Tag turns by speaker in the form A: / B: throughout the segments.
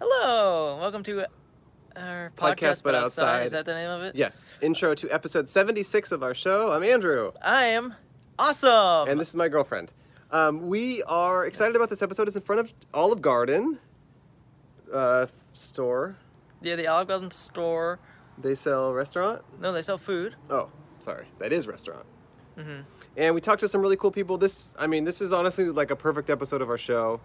A: Hello, and welcome to our podcast,
B: Podcast,
A: but
B: But
A: outside.
B: Outside.
A: Is that the name of it?
B: Yes. Intro to episode 76 of our show. I'm Andrew,
A: I am awesome.
B: and this is my girlfriend. Um, we are excited about this episode. It's in front of Olive Garden uh, store.
A: yeah, the Olive Garden store.
B: They sell restaurant.
A: No, they sell food.
B: Oh, sorry. That is restaurant. And we talked to some really cool people. This, I mean, this is honestly like a perfect episode of our show.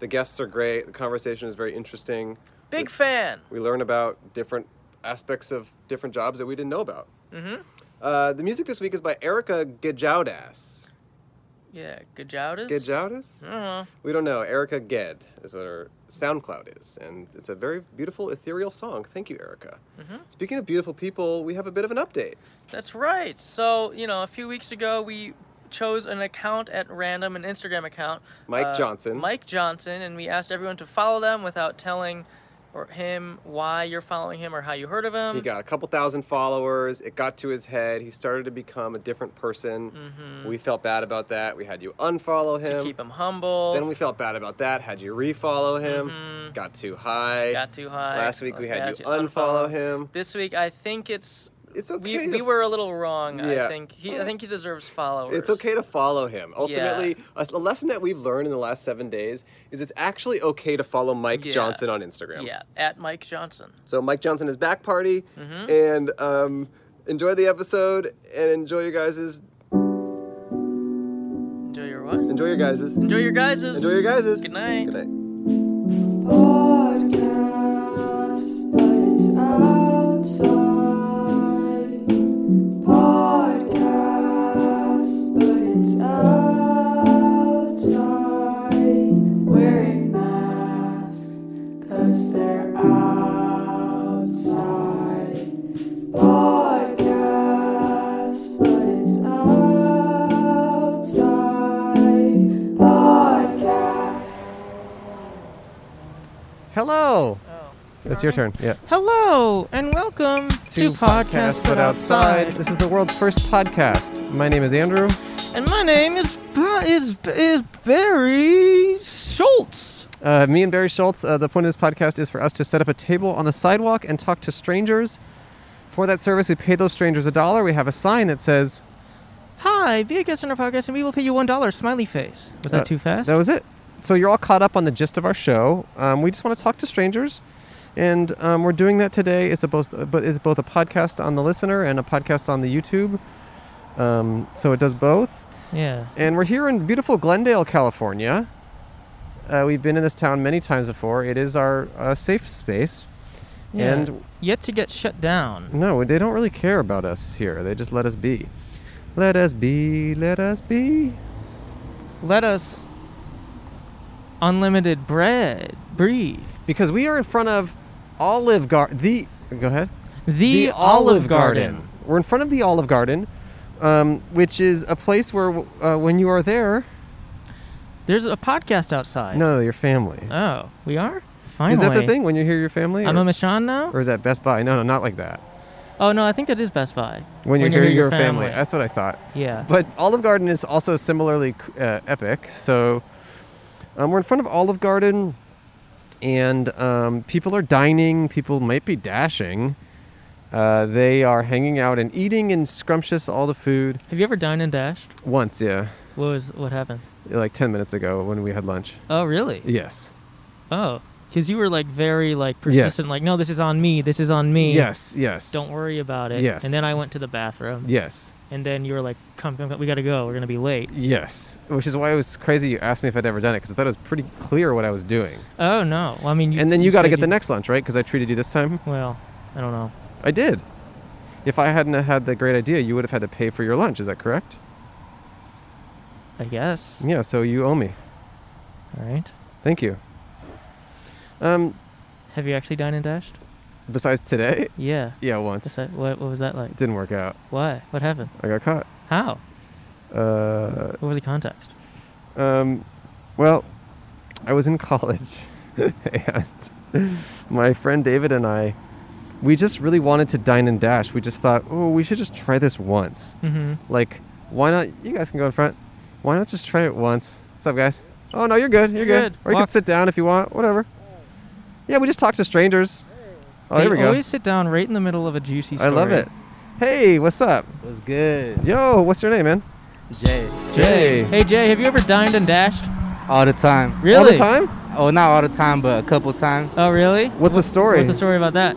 B: The guests are great. The conversation is very interesting.
A: Big fan.
B: We learn about different aspects of different jobs that we didn't know about. Mm-hmm. Uh, the music this week is by Erica Gajaudas.
A: Yeah, Gajaudas.
B: Gajaudas?
A: I don't know.
B: We don't know. Erica Ged is what her SoundCloud is. And it's a very beautiful, ethereal song. Thank you, Erica.
A: Mm-hmm.
B: Speaking of beautiful people, we have a bit of an update.
A: That's right. So you know, a few weeks ago we chose an account at random, an Instagram account. uh,
B: Mike Johnson.
A: Mike Johnson, and we asked everyone to follow them without telling or him why you're following him or how you heard of him.
B: He got a couple thousand followers. It got to his head. He started to become a different person. We felt bad about that. We had you unfollow
A: Mm-hmm. to
B: him.
A: keep him humble.
B: Then we felt bad about that. Had you refollow him. Got too high.
A: Mm-hmm. got too high.
B: Last week we had
A: Got
B: you unfollow
A: unfollowed.
B: him.
A: This week I think it's
B: It's okay.
A: we, we
B: to-
A: were a little wrong. I
B: Yeah.
A: think he I think he deserves followers.
B: It's okay to follow him. Ultimately, a, a lesson that we've learned in the last seven days is it's actually okay to follow Mike
A: Yeah.
B: Johnson on Instagram.
A: Yeah, at Mike Johnson.
B: So Mike Johnson is back party,
A: Mm-hmm.
B: and um, enjoy the episode and enjoy your guys's
A: Enjoy your what?
B: enjoy your guys's
A: Enjoy your guys's.
B: enjoy your guys's.
A: Good night.
B: Good night.
C: Podcast, but it's outside. Podcast, but it's outside. Wearing masks, cause they're outside. Podcast, but it's outside. Podcast.
B: Hello.
A: Oh.
B: It's your turn. Yeah.
A: Hello and welcome to, podcast, but outside.
B: This is the world's first podcast. My name is Andrew.
A: And my name is Ba- is is Barry Schultz.
B: Uh, me and Barry Schultz. Uh, the point of this podcast is for us to set up a table on the sidewalk and talk to strangers. For that service, we pay those strangers a dollar. We have a sign that says,
A: Hi, be a guest on our podcast and we will pay you one dollar. Smiley face. Was that
B: Uh,
A: too fast?
B: That was it. So you're all caught up on the gist of our show. Um, we just want to talk to strangers, and um, we're doing that today. It's a both, but it's both a podcast on the listener and a podcast on the YouTube. Um, so it does both.
A: yeah.
B: And we're here in beautiful Glendale, California. Uh, we've been in this town many times before. It is our uh, safe space.
A: yeah.
B: And
A: yet to get shut down.
B: no, they don't really care about us here. They just let us be. Let us be. Let us be.
A: Let us unlimited bread breed.
B: Because we are in front of Olive Garden. The go ahead.
A: The,
B: We're in front of the Olive Garden, um, which is a place where uh, when you are there,
A: There's a podcast outside.
B: no, your family.
A: Oh, we are? Finally.
B: is that the thing when you hear your family?
A: I'm
B: or,
A: a Michon now?
B: or is that Best Buy? No, no, not like that.
A: oh, no, I think that is Best Buy.
B: When you
A: you
B: hear
A: hear
B: your,
A: your
B: family.
A: family.
B: that's what I thought.
A: Yeah.
B: But Olive Garden is also similarly c- uh, epic. So um, we're in front of Olive Garden, and um, people are dining. People might be dashing. Uh, they are hanging out and eating and scrumptious all the food
A: Have you ever dined and dashed?
B: once. Yeah,
A: What was what happened?
B: like ten minutes ago when we had lunch.
A: Oh, really?
B: Yes.
A: Oh, because you were like very like
B: Yes.
A: persistent, like no, this is on me, this is on me.
B: Yes. Yes.
A: Don't worry about it.
B: Yes.
A: And then I went to the bathroom.
B: Yes.
A: And then you were like, come, come, come, we gotta go. We're gonna be late.
B: Yes. Which is why it was crazy you asked me if I'd ever done it because I thought it was pretty clear what I was doing.
A: Oh no. Well, I mean, you,
B: and then you got to
A: said
B: get the next lunch, right? Because I treated you this time.
A: Well, I don't know.
B: I did. If I hadn't have had the great idea, you would have had to pay for your lunch. Is that correct?
A: I guess.
B: Yeah. So you owe me.
A: All right.
B: Thank you. Um,
A: Have you actually dined and dashed?
B: besides today,
A: Yeah.
B: yeah,
A: Is
B: once
A: that, what, what was that like?
B: it didn't work out.
A: Why? What happened?
B: I got caught.
A: How?
B: Uh,
A: What was the context?
B: um, well, I was in college, and my friend David and I, we just really wanted to dine and dash. We just thought, oh, we should just try this once.
A: Mm-hmm.
B: Like, why not? You guys can go in front. Why not just try it once? What's up, guys? Oh no, you're good. You're,
A: You're
B: good.
A: good.
B: Or you
A: Walk.
B: can sit down if you want. Whatever. Yeah, we just talk to strangers. Oh,
A: they
B: there we go.
A: always sit down right in the middle of a juicy
B: I
A: story.
B: love it. Hey, what's up?
D: What's good?
B: Yo, what's your name, man?
D: Jay.
B: Jay.
A: Hey, Jay, have you ever dined and dashed?
D: All the time.
A: Really?
B: All the time?
D: Oh, not all the time, but a couple times.
A: Oh, really?
B: What's the story?
A: What's the story about that?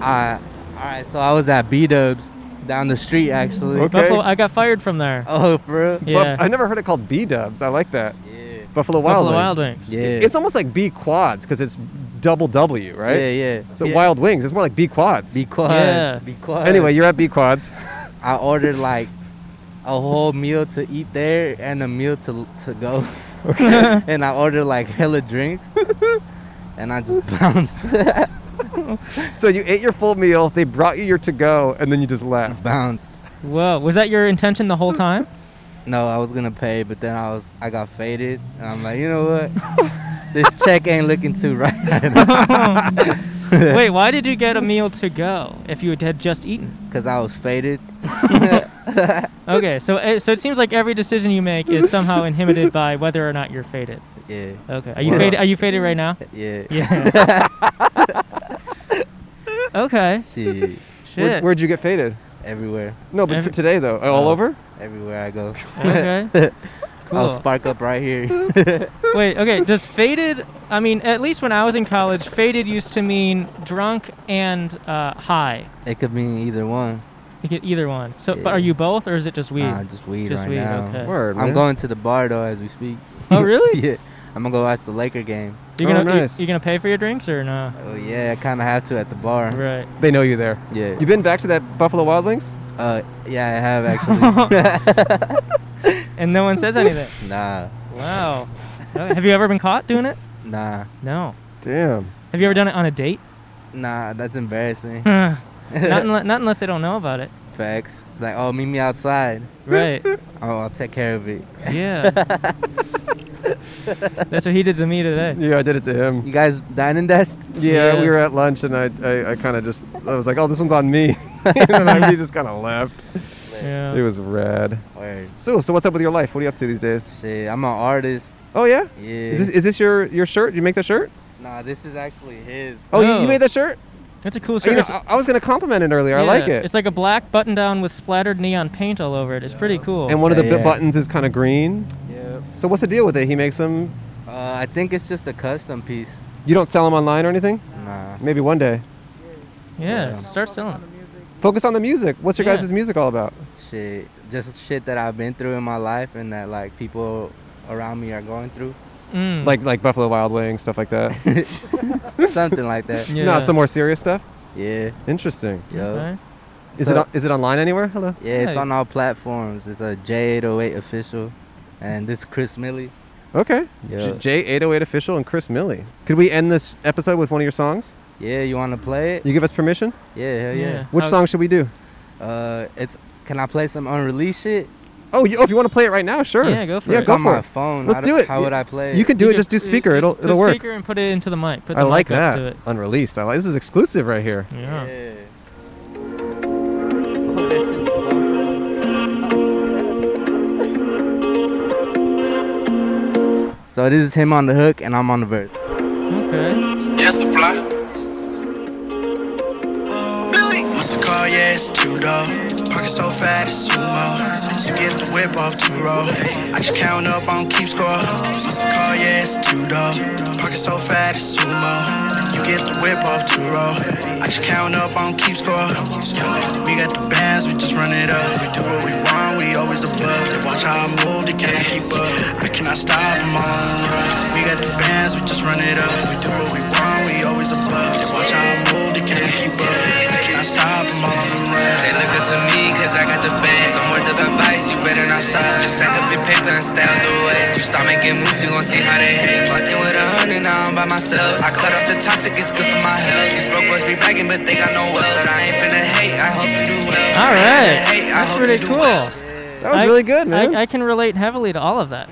D: I, all right, so I was at B Dubs down the street actually.
B: Okay.
A: Buffalo, I got fired from there.
D: Oh, for real?
B: Bu-
A: Yeah.
B: I never heard it called B Dubs. I like that.
D: Yeah.
B: Buffalo Wild
A: Buffalo
B: Wings.
A: Wild Wings.
D: Yeah.
B: It's almost like B Quads because it's double W, right?
D: Yeah, yeah.
B: So
D: yeah.
B: Wild Wings. It's more like B Quads.
D: Be quiet.
A: Yeah.
D: Be quiet.
B: anyway, you're at B Quads.
D: I ordered like a whole meal to eat there and a meal to to go. Okay. and I ordered like hella drinks. and I just bounced.
B: so you ate your full meal. They brought you your to go, and then you just left.
D: bounced.
A: Whoa, was that your intention the whole time?
D: No, I was gonna pay, but then I was I got faded, and I'm like, you know what? this check ain't looking too right,
A: Wait, why did you get a meal to go if you had just eaten?
D: cause I was faded.
A: Okay, so eh, so it seems like every decision you make is somehow inhibited by whether or not you're faded.
D: Yeah,
A: Okay, are you
B: Wow.
A: faded? Are you faded right now?
D: yeah.
A: Yeah. okay.
D: Shit,
B: Where,
A: Shit.
B: where'd you get faded?
D: everywhere,
B: No, but
A: Every-
B: t- today though, all
D: Oh.
B: over.
D: everywhere I go,
A: okay.
D: I'll
A: Cool.
D: spark up right here.
A: Wait. Okay. Does faded? I mean, at least when I was in college, faded used to mean drunk and uh, high.
D: it could mean either one.
A: You get either one. So, but
D: Yeah.
A: are you both, or is it just weed?
B: Ah,
D: Nah, just weed
A: Just
D: right
A: weed,
D: now.
A: okay.
B: Word.
D: I'm
B: man.
D: going to the bar though as we speak.
A: Oh, really?
D: yeah, I'm gonna go watch the Laker game.
A: You're
B: Oh,
A: gonna you-
B: nice.
A: you, gonna pay for your drinks or no?
D: Oh yeah, I kind of have to at the bar.
A: Right.
B: They know you there.
D: Yeah,
B: You been back to that Buffalo Wild Wings?
D: uh, yeah, I have actually.
A: And no one says anything.
D: nah,
A: wow. Okay, Have you ever been caught doing it?
D: nah,
A: No.
B: Damn.
A: Have you ever done it on a date?
D: nah. That's embarrassing.
A: not, unle- not unless they don't know about it.
D: Facts. Like, oh, meet me outside.
A: Right.
D: Oh, I'll take care of it.
A: Yeah. That's what he did to me today.
B: Yeah, I did it to him.
D: You guys dine and dust?
B: Yeah,
A: Yeah.
B: we were at lunch, and I, I, I kind of just, I was like, oh, this one's on me, and then I, we just kind of left.
A: Yeah.
B: It was rad.
D: Word.
B: So, so what's up with your life? What are you up to these days?
D: Shit, I'm an artist.
B: Oh yeah.
D: Yeah.
B: Is this, is this your your shirt? Did you make the shirt?
D: nah, this is actually his.
B: Oh, you,
A: No.
B: you made that shirt?
A: That's a cool
B: You
A: shirt.
B: know,
A: It's-
B: I, I was gonna compliment it earlier. I
A: yeah,
B: like it.
A: It's like a black button down with splattered neon paint all over it. It's pretty cool.
B: And one of the
D: Yeah,
B: bu-
D: yeah.
B: buttons is kind of green.
D: Yep.
B: So what's the deal with it? He makes them.
D: Uh, I think it's just a custom piece.
B: You don't sell them online or anything?
D: Nah.
B: Maybe one day.
A: yeah,
D: Yeah.
A: start selling. it.
B: Focus on the music. What's your
A: Yeah.
B: guys' music all about?
D: Shit. Just shit that I've been through in my life and that, like, people around me are going through.
A: Mm.
B: Like like Buffalo Wild Wings stuff like that.
D: Something like that.
A: yeah.
B: Not some more serious stuff.
D: Yeah.
B: Interesting.
D: Yo.
A: Okay.
B: Is
D: So-
B: it on- is it online anywhere? Hello.
D: Yeah, it's
A: Hey.
D: on all platforms. It's a J808 official. And this Chris Millie.
B: Okay.
D: Yeah.
B: J eight oh eight official and Chris Millie. Could we end this episode with one of your songs?
D: Yeah, you want to play it?
B: You give us permission.
D: Yeah, hell yeah.
B: Which
A: How-
B: song should we do?
D: Uh, it's can I play some unreleased shit?
B: Oh, you, oh, if you want to play it right now, sure.
A: Yeah, go for
B: yeah,
A: it.
D: It's
B: Go
D: on
B: for
D: my
B: it.
D: phone.
B: Let's
D: How
B: do it.
D: How would I play? it?
B: You can do
A: You
B: it. Just do
A: uh,
B: speaker.
A: just
B: it'll
A: put
B: it'll work.
A: Speaker and put it into the mic. Put the
B: I like
A: mic up
B: that.
A: To it.
B: Unreleased. I like this is exclusive right here.
A: Yeah.
D: So this is him on the hook and I'm on the verse.
A: Okay.
E: Yes, supply. Billy. What's the car? Yeah, it's two door. Parking so fat, it's sumo. You get the whip off two roll. I just count up, I don't keep score. What's the car? Yeah, it's two door. Parking so fat, it's sumo. You get the whip off two roll. I just count up, I don't keep score. Yo, we got the bands, we just run it up. We do what we want, we always above. They watch how I move, they can't keep up. I cannot stop, I'm on the run. We got the bands, we just run it up. We do what we want, we always above. They watch how I move, they can't keep up. I cannot stop, I'm on the run.
F: They look up to me cause I got the bag. Some words of advice, you better not stop. Just stack up your paper and stay on the way. You start making moves, you gon' see how they hate. Bought them with a hundred, now I'm by myself. I cut off the toxic, it's good for my health. These broke boys be bragging, but they got no wealth. But I ain't finna hate, I hope you do well.
A: All
F: I ain't finna
A: right.
F: hate, I
A: That's
F: hope
A: pretty
F: you do
A: cool.
F: well.
B: That was
A: I-
B: really good, man.
A: I, I can relate heavily to all of that.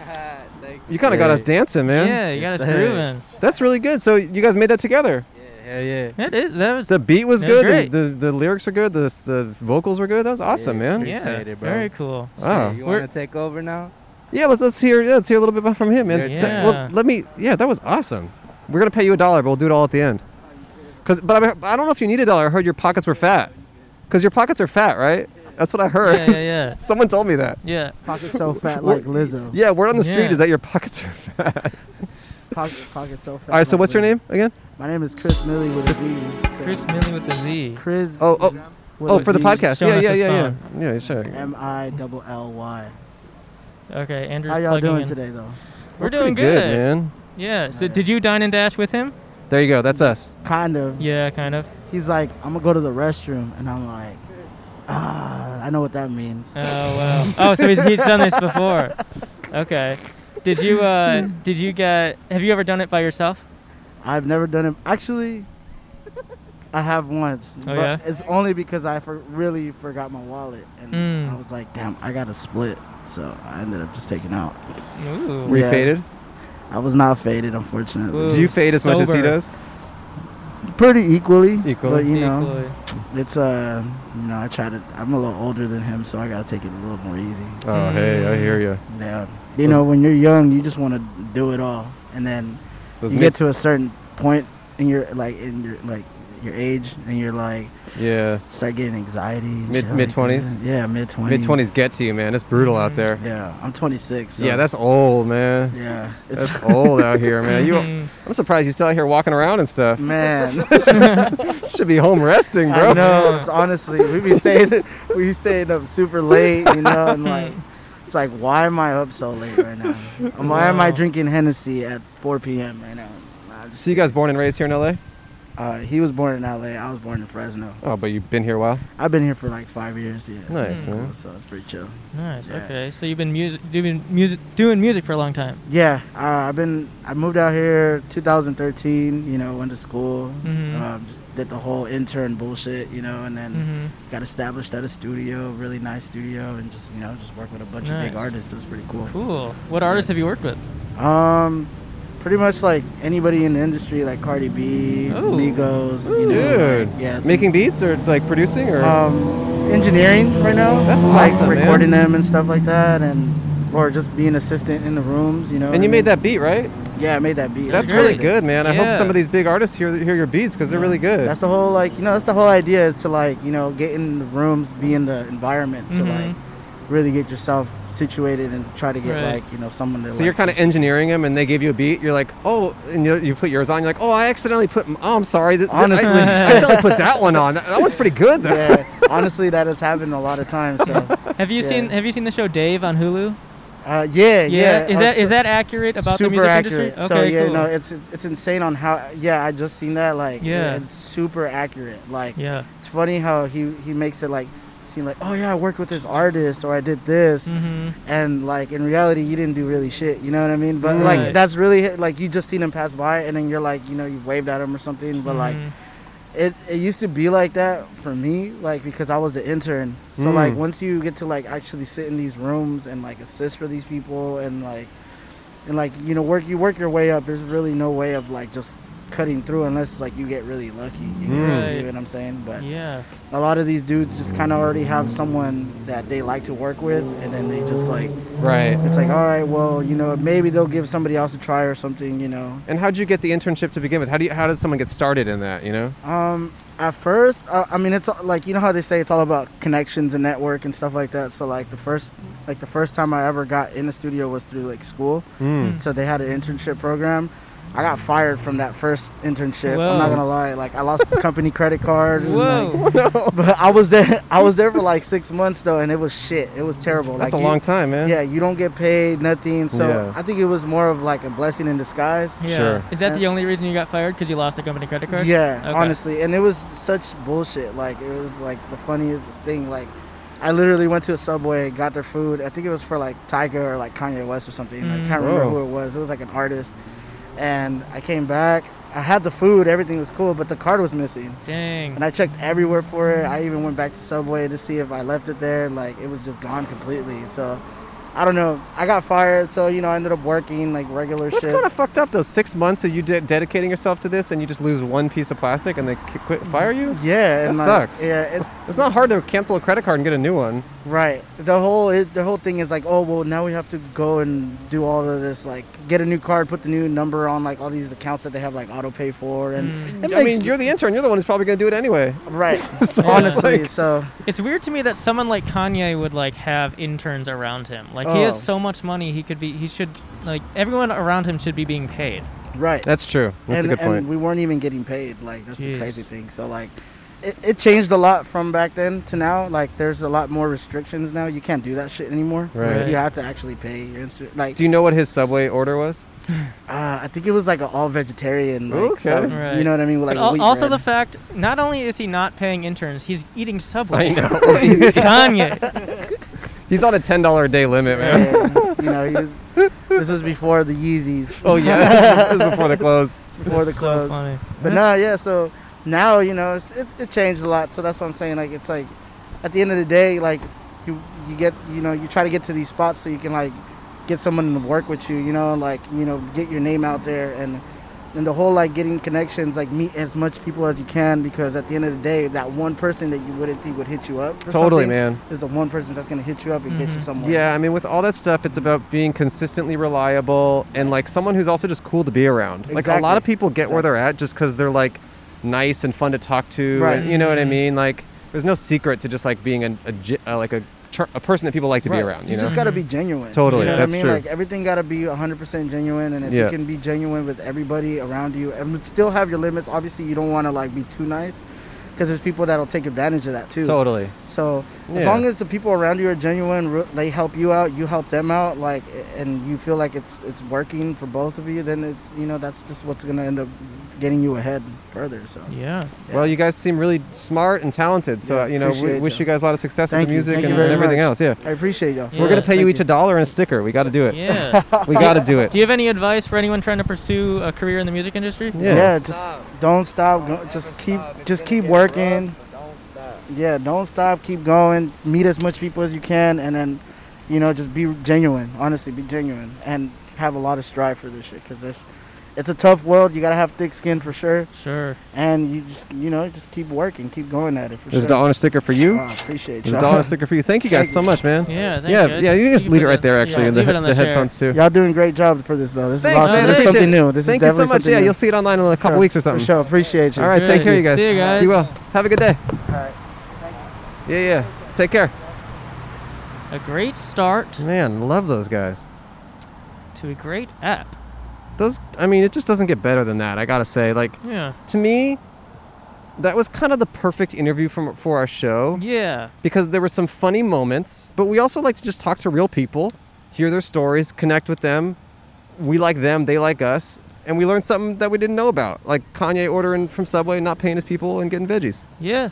B: you kind of got
D: Yeah.
B: us dancing, man.
A: Yeah, you got
D: Yes,
A: us
D: sir.
A: grooving.
B: That's really good. So you guys made that together.
D: Yeah, hell yeah.
A: It is. That was
B: The beat was
A: Yeah,
B: good.
A: great.
B: The, the the lyrics were good. The s- the vocals were good. That was awesome,
D: Yeah,
B: man.
D: true.
A: yeah,
D: appreciate it, bro.
A: very cool.
B: Wow.
D: Shit, you
A: We're-
D: want to take over now?
B: Yeah, let's let's hear yeah, let's hear a little bit about- from him, man.
D: Yeah,
B: Th-
A: yeah.
B: Well, let me. Yeah, that was awesome. We're gonna pay you a dollar, but we'll do it all at the end. Cause, but I, but I don't know if you need a dollar. I heard your pockets were fat. Cause your pockets are fat, right? That's what I heard.
A: Yeah, yeah, yeah.
B: Someone told me that.
A: Yeah.
G: Pocket so fat
B: What-
G: like Lizzo.
B: Yeah, word on the street
A: Yeah.
B: is that your pockets are fat.
G: Pocket, pocket so fat.
B: All right, so
G: like
B: what's your
G: Lizzo.
B: name again?
G: My name is Chris Millie with a Z. So
A: Chris Millie with the Z.
G: Chris.
B: Oh, oh,
G: Z- with
B: Oh,
G: a
B: for the
G: Z,
B: podcast.
A: showing
B: Yeah,
A: us
B: yeah,
A: his
B: yeah, yeah. Yeah, sure.
G: M I double L Y.
A: Okay, Andrew.
G: How y'all doing today, though?
A: We're, doing
B: pretty
A: good.
B: man.
A: Yeah. So
G: Alright.
A: did you dine and dash with him?
B: There you go. That's us.
G: Kind of.
A: Yeah, kind of.
G: He's like, I'm gonna go to the restroom, and I'm like, ah, I know what that means.
A: Oh wow. Oh, so he's, he's done this before. Okay. Did you uh did you get have you ever done it by yourself?
G: I've never done it. Actually, I have once. but
A: Oh, yeah?
G: It's only because I for- really forgot my wallet, and
A: Mm.
G: I was like, damn, I got to split. So I ended up just taking out.
A: Ooh.
B: Were you
G: Yeah.
B: faded?
G: I was not faded, unfortunately.
A: Ooh,
B: Do you fade as much as he
A: sober.
B: does?
G: Pretty equally.
B: Equally.
G: But you know,
A: Equally.
G: it's uh, you know, I try to. I'm a little older than him, so I got to take it a little more easy.
B: Oh, hey, I hear you.
G: Yeah. You know, when you're young, you just want to do it all, and then
B: Those
G: you
B: mid-
G: get to a certain point in your like in your like your age, and you're like.
B: yeah.
G: start getting anxiety. and
B: Mid-
G: shit like
B: mid-twenties?
G: that. Yeah, mid twenties.
B: Mid 20s get to you, man. It's brutal out there.
G: Yeah, I'm 26. So
B: Yeah, that's old, man.
G: yeah. It's
B: That's old uh, out here, man. You,
A: Mhm.
B: I'm surprised you still out here walking around and stuff.
G: man.
B: Should be home resting,
G: I
B: bro.
G: know. It's honestly, we be staying, we be staying up super late, you know, and like, it's like, why am I up so late right now? And why am I
A: Wow.
G: drinking Hennessy at 4 p.m. right now? I just-
B: So you guys born and raised here in LA?
G: Uh, he was born in LA. I was born in Fresno.
B: Oh, but you've been here a while.
G: I've been here for like five years. Yeah.
B: Nice,
G: Cool,
B: man.
G: So it's pretty chill.
A: Nice.
G: Yeah.
A: Okay. So you've been music doing music doing music for a long time.
G: Yeah, uh, I've been. I moved out here 2013. You know, went to school.
B: Mm-hmm.
A: Mhm.
G: Um, just did the whole intern bullshit. You know, and then
A: Mhm.
G: got established at a studio, really nice studio, and just you know just work with a bunch of big
A: Nice.
G: artists. It was pretty cool.
A: Cool. What artists have you worked with?
G: Um, pretty much like anybody in the industry, like Cardi B,
A: Ooh.
G: Migos. You know,
B: Oh. Dude.
G: like, yeah, some-
B: Making beats or like producing or?
G: um, engineering right now.
B: That's
G: like
B: awesome, man.
G: recording them and stuff like that, and or just being assistant in the rooms. You know. what
B: and
G: I
B: you made
G: mean?
B: that beat, right?
G: Yeah, I made that beat.
B: That's
A: great.
B: really good, man. I hope
A: Yeah.
B: some of these big artists hear hear your beats because they're really good.
G: That's the whole like you know that's the whole idea is to like you know get in the rooms, be in the environment
A: Mhm.
G: to like really get yourself situated and try to get
A: Right.
G: like you know someone that.
B: so
G: like,
B: you're kind of engineering them, and they give you a beat. You're like, oh, and you, you put yours on. You're like, oh, I accidentally put. m- Oh, I'm sorry. Th- th- I-
G: Honestly.
B: I, accidentally put that one on. That, that one's pretty good though.
G: yeah, honestly, that has happened a lot of times. So,
A: Have you
G: Yeah.
A: seen Have you seen the show Dave on Hulu?
G: uh, yeah, yeah.
A: Is
G: uh,
A: that
G: so-
A: is that accurate about
G: super
A: the music
G: accurate?
A: industry?
G: so
A: Okay.
G: yeah,
A: cool.
G: no, it's it's it's insane on how yeah I just seen that like
A: Yeah.
G: it's super accurate like
A: yeah.
G: it's funny how he he makes it like seem like oh yeah I worked with this artist or I did this
A: Mm-hmm.
G: and like in reality you didn't do really shit you know what i mean but
A: Right.
G: like that's really like you just seen him pass by and then you're like you know you waved at him or something but like
A: Mm-hmm.
G: it, it used to be like that for me like because i was the intern so
B: Mm.
G: like once you get to like actually sit in these rooms and like assist for these people and like and like you know work you work your way up there's really no way of like just cutting through unless like you get really lucky
B: Mm.
G: you know,
A: Right.
G: you know what i'm saying but
A: yeah.
G: a lot of these dudes just kind of already have someone that they like to work with and then they just like
B: Right.
G: it's like, all right, well, you know, maybe they'll give somebody else a try or something, you know.
B: And how'd you get the internship to begin with? How do you, how does someone get started in that? You know.
G: Um, at first, uh, I mean, it's all- like you know how they say it's all about connections and network and stuff like that. So like the first, like the first time I ever got in the studio was through like school.
B: Mm.
G: So they had an internship program. I got fired from that first internship. I'm
A: Whoa.
G: not gonna lie, like I lost the company credit card. and, like-
A: Whoa.
G: but I was there. I was there for like six months though, and it was shit. It was terrible.
B: That's
G: like,
B: a
G: you-
B: long time, man.
G: Yeah, you don't get paid nothing. So
B: Yeah.
G: I think it was more of like a blessing in disguise.
A: Yeah.
B: Sure.
A: Is that
G: Uh,
A: the only reason you got fired? Because you lost the company credit card?
G: Yeah,
A: Okay.
G: honestly, and it was such bullshit. Like it was like the funniest thing. Like I literally went to a Subway, got their food. I think it was for like Tiger or like Kanye West or something. I can't remember
B: Whoa.
G: who it was. It was like an artist, and I came back. I had the food, everything was cool, but the card was missing.
A: Dang.
G: And I checked everywhere for it. I even went back to Subway to see if I left it there. Like it was just gone completely. So I don't know. I got fired, so you know I ended up working like regular
B: That's
G: shifts.
B: kind of fucked up. Those six months of you de- dedicating yourself to this, and you just lose one piece of plastic, and they qu- quit fire you.
G: yeah,
B: That
G: and, like,
B: sucks.
G: Yeah, it's
B: It's not hard to cancel a credit card and get a new one.
G: Right. The whole it, the whole thing is like, oh well, now we have to go and do all of this, like get a new card, put the new number on, like all these accounts that they have like auto pay for, and it
B: Mm. I
G: makes-
B: mean, you're the intern. You're the one who's probably gonna do it anyway.
G: right.
B: So it's
G: Honestly,
B: like-
G: so
A: It's weird to me that someone like Kanye would like have interns around him. Like he
G: Oh.
A: has so much money, he could be he should like everyone around him should be being paid.
G: right.
B: that's true. That's
G: and
B: a good
G: and
B: point.
G: we weren't even getting paid. Like that's the
A: Jeez.
G: crazy thing. So like, it, it changed a lot from back then to now. Like there's a lot more restrictions now. You can't do that shit anymore.
B: Right.
G: Like, you have to actually pay your insurance. Like
B: do you know what his subway order was?
G: uh, I think it was like an all vegetarian. Like,
B: Okay.
G: sub-
A: Right.
G: You know what I mean? With, Like
A: But al-
G: wheat
A: also the
G: bread.
A: fact not only is he not paying interns, he's eating Subway.
B: I know.
A: He's Kanye.
B: He's on a ten dollar a day limit, man.
G: Yeah, you know, he was, this was before the Yeezys.
B: Oh yeah, this is before the close.
G: It's before the
A: So
G: clothes.
A: funny.
G: but no, yeah. So now you know it's, it's it changed a lot. So that's what I'm saying. Like it's like at the end of the day, like you you get you know you try to get to these spots so you can like get someone to work with you. You know, like you know get your name out there and. And the whole like getting connections, like meet as much people as you can, because at the end of the day, that one person that you wouldn't think would hit you up, for
B: Totally,
G: something
B: man. Mm-hmm.
G: is the one person that's gonna hit you up and get you
A: Mhm.
G: somewhere.
B: Yeah, I mean, with all that stuff, it's about being consistently reliable and like someone who's also just cool to be around. Like a lot
G: Exactly.
B: of people get where they're at just because they're like nice and fun to talk to.
G: Right. Mm-hmm.
B: And, you know what I mean? Like, there's no secret to just like being a, a ge- uh, like a tr- a person that people like to be
G: Right.
B: around. You,
G: You
B: know?
G: just gotta be genuine.
B: Totally,
G: You know
B: that's
G: what I mean?
B: true.
G: Like everything gotta be 100% genuine, and if
B: Yeah.
G: you can be genuine with everybody around you, and would still have your limits. Obviously, you don't want to like be too nice, because there's people that'll take advantage of that too.
B: totally.
G: So as
B: Yeah.
G: long as the people around you are genuine, re- they help you out, you help them out, like, and you feel like it's it's working for both of you, then it's you know that's just what's gonna end up getting you ahead further. So
A: Yeah.
G: Yeah.
B: Well, you guys seem really smart and talented. So,
G: Yeah,
B: uh, you know, we
G: appreciate
B: wish
G: ya.
B: you guys a lot of success
G: Thank
B: with the
G: you.
B: music
G: Thank
B: and,
G: you very
B: and everything else.
G: much.
B: Yeah.
G: I appreciate y'all.
B: We're going to
A: Yeah,
B: pay you
G: thank
B: each a dollar and a sticker. We got to do it.
A: Yeah.
B: We got to do it.
A: Do you have any advice for anyone trying to pursue a career in the music industry?
B: Yeah.
G: Yeah, just don't stop. Go, just keep, just keep working. Yeah, don't stop. Keep going. Meet as much people as you can, and then, you know, just be genuine. Honestly, be genuine, and have a lot of strive for this shit, cause it's, it's a tough world. You gotta have thick skin for sure,
A: Sure.
G: and you just, you know, just keep working, keep going at it for
B: There's a
G: sure.
B: dollar and a sticker for you.
G: Oh, appreciate
B: There's a dollar
G: y'all.
B: and a sticker for you. Thank you guys
G: Thank
B: so
G: you.
B: much, man.
A: Yeah. Thank
B: yeah,
A: you.
B: yeah. You can just
A: can
B: leave
A: put
B: it right there,
A: yeah,
B: actually, and the,
A: leave it
B: he-
A: on
B: the headphones too.
G: y'all doing a great job for this though. This
B: Thanks,
G: is awesome.
A: man.
G: This is
B: Appreciate
G: something
B: it.
G: new. This
B: Thank
G: is
B: you
G: definitely
B: so much.
G: something
B: Yeah,
G: new.
B: you'll see it online in a couple
G: Sure,
B: weeks or
G: For
B: something.
G: sure. Appreciate you.
B: All right, take care, you guys.
A: See you guys.
B: Be well. Have a good day.
G: All right.
B: Yeah, yeah. Take care.
A: A great start
B: Man, love those guys.
A: to a great app.
B: Those, I mean, it just doesn't get better than that. I gotta say, like
A: Yeah.
B: to me, that was kind of the perfect interview from for our show
A: Yeah.
B: because there were some funny moments, but we also like to just talk to real people, hear their stories, connect with them. We like them, they like us, and we learned something that we didn't know about, like Kanye ordering from Subway, not paying his people, and getting veggies.
A: Yeah.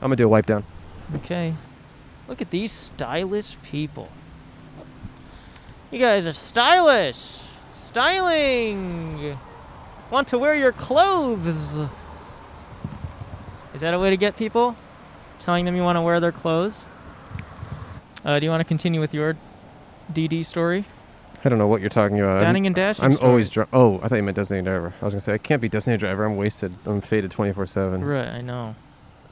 B: I'm gonna do a wipe down.
A: Okay. Look at these stylish people. You guys are stylish. Styling. Want to wear your clothes. Is that a way to get people? Telling them you want to wear their clothes? Uh, do you want to continue with your DD story?
B: I don't know what you're talking about. I'm-
A: Downing and dashing.
B: I'm
A: story.
B: always drunk. Oh, I thought you meant designated driver. I was gonna say I can't be designated driver. I'm wasted. I'm faded 24 seven.
A: Right, I know.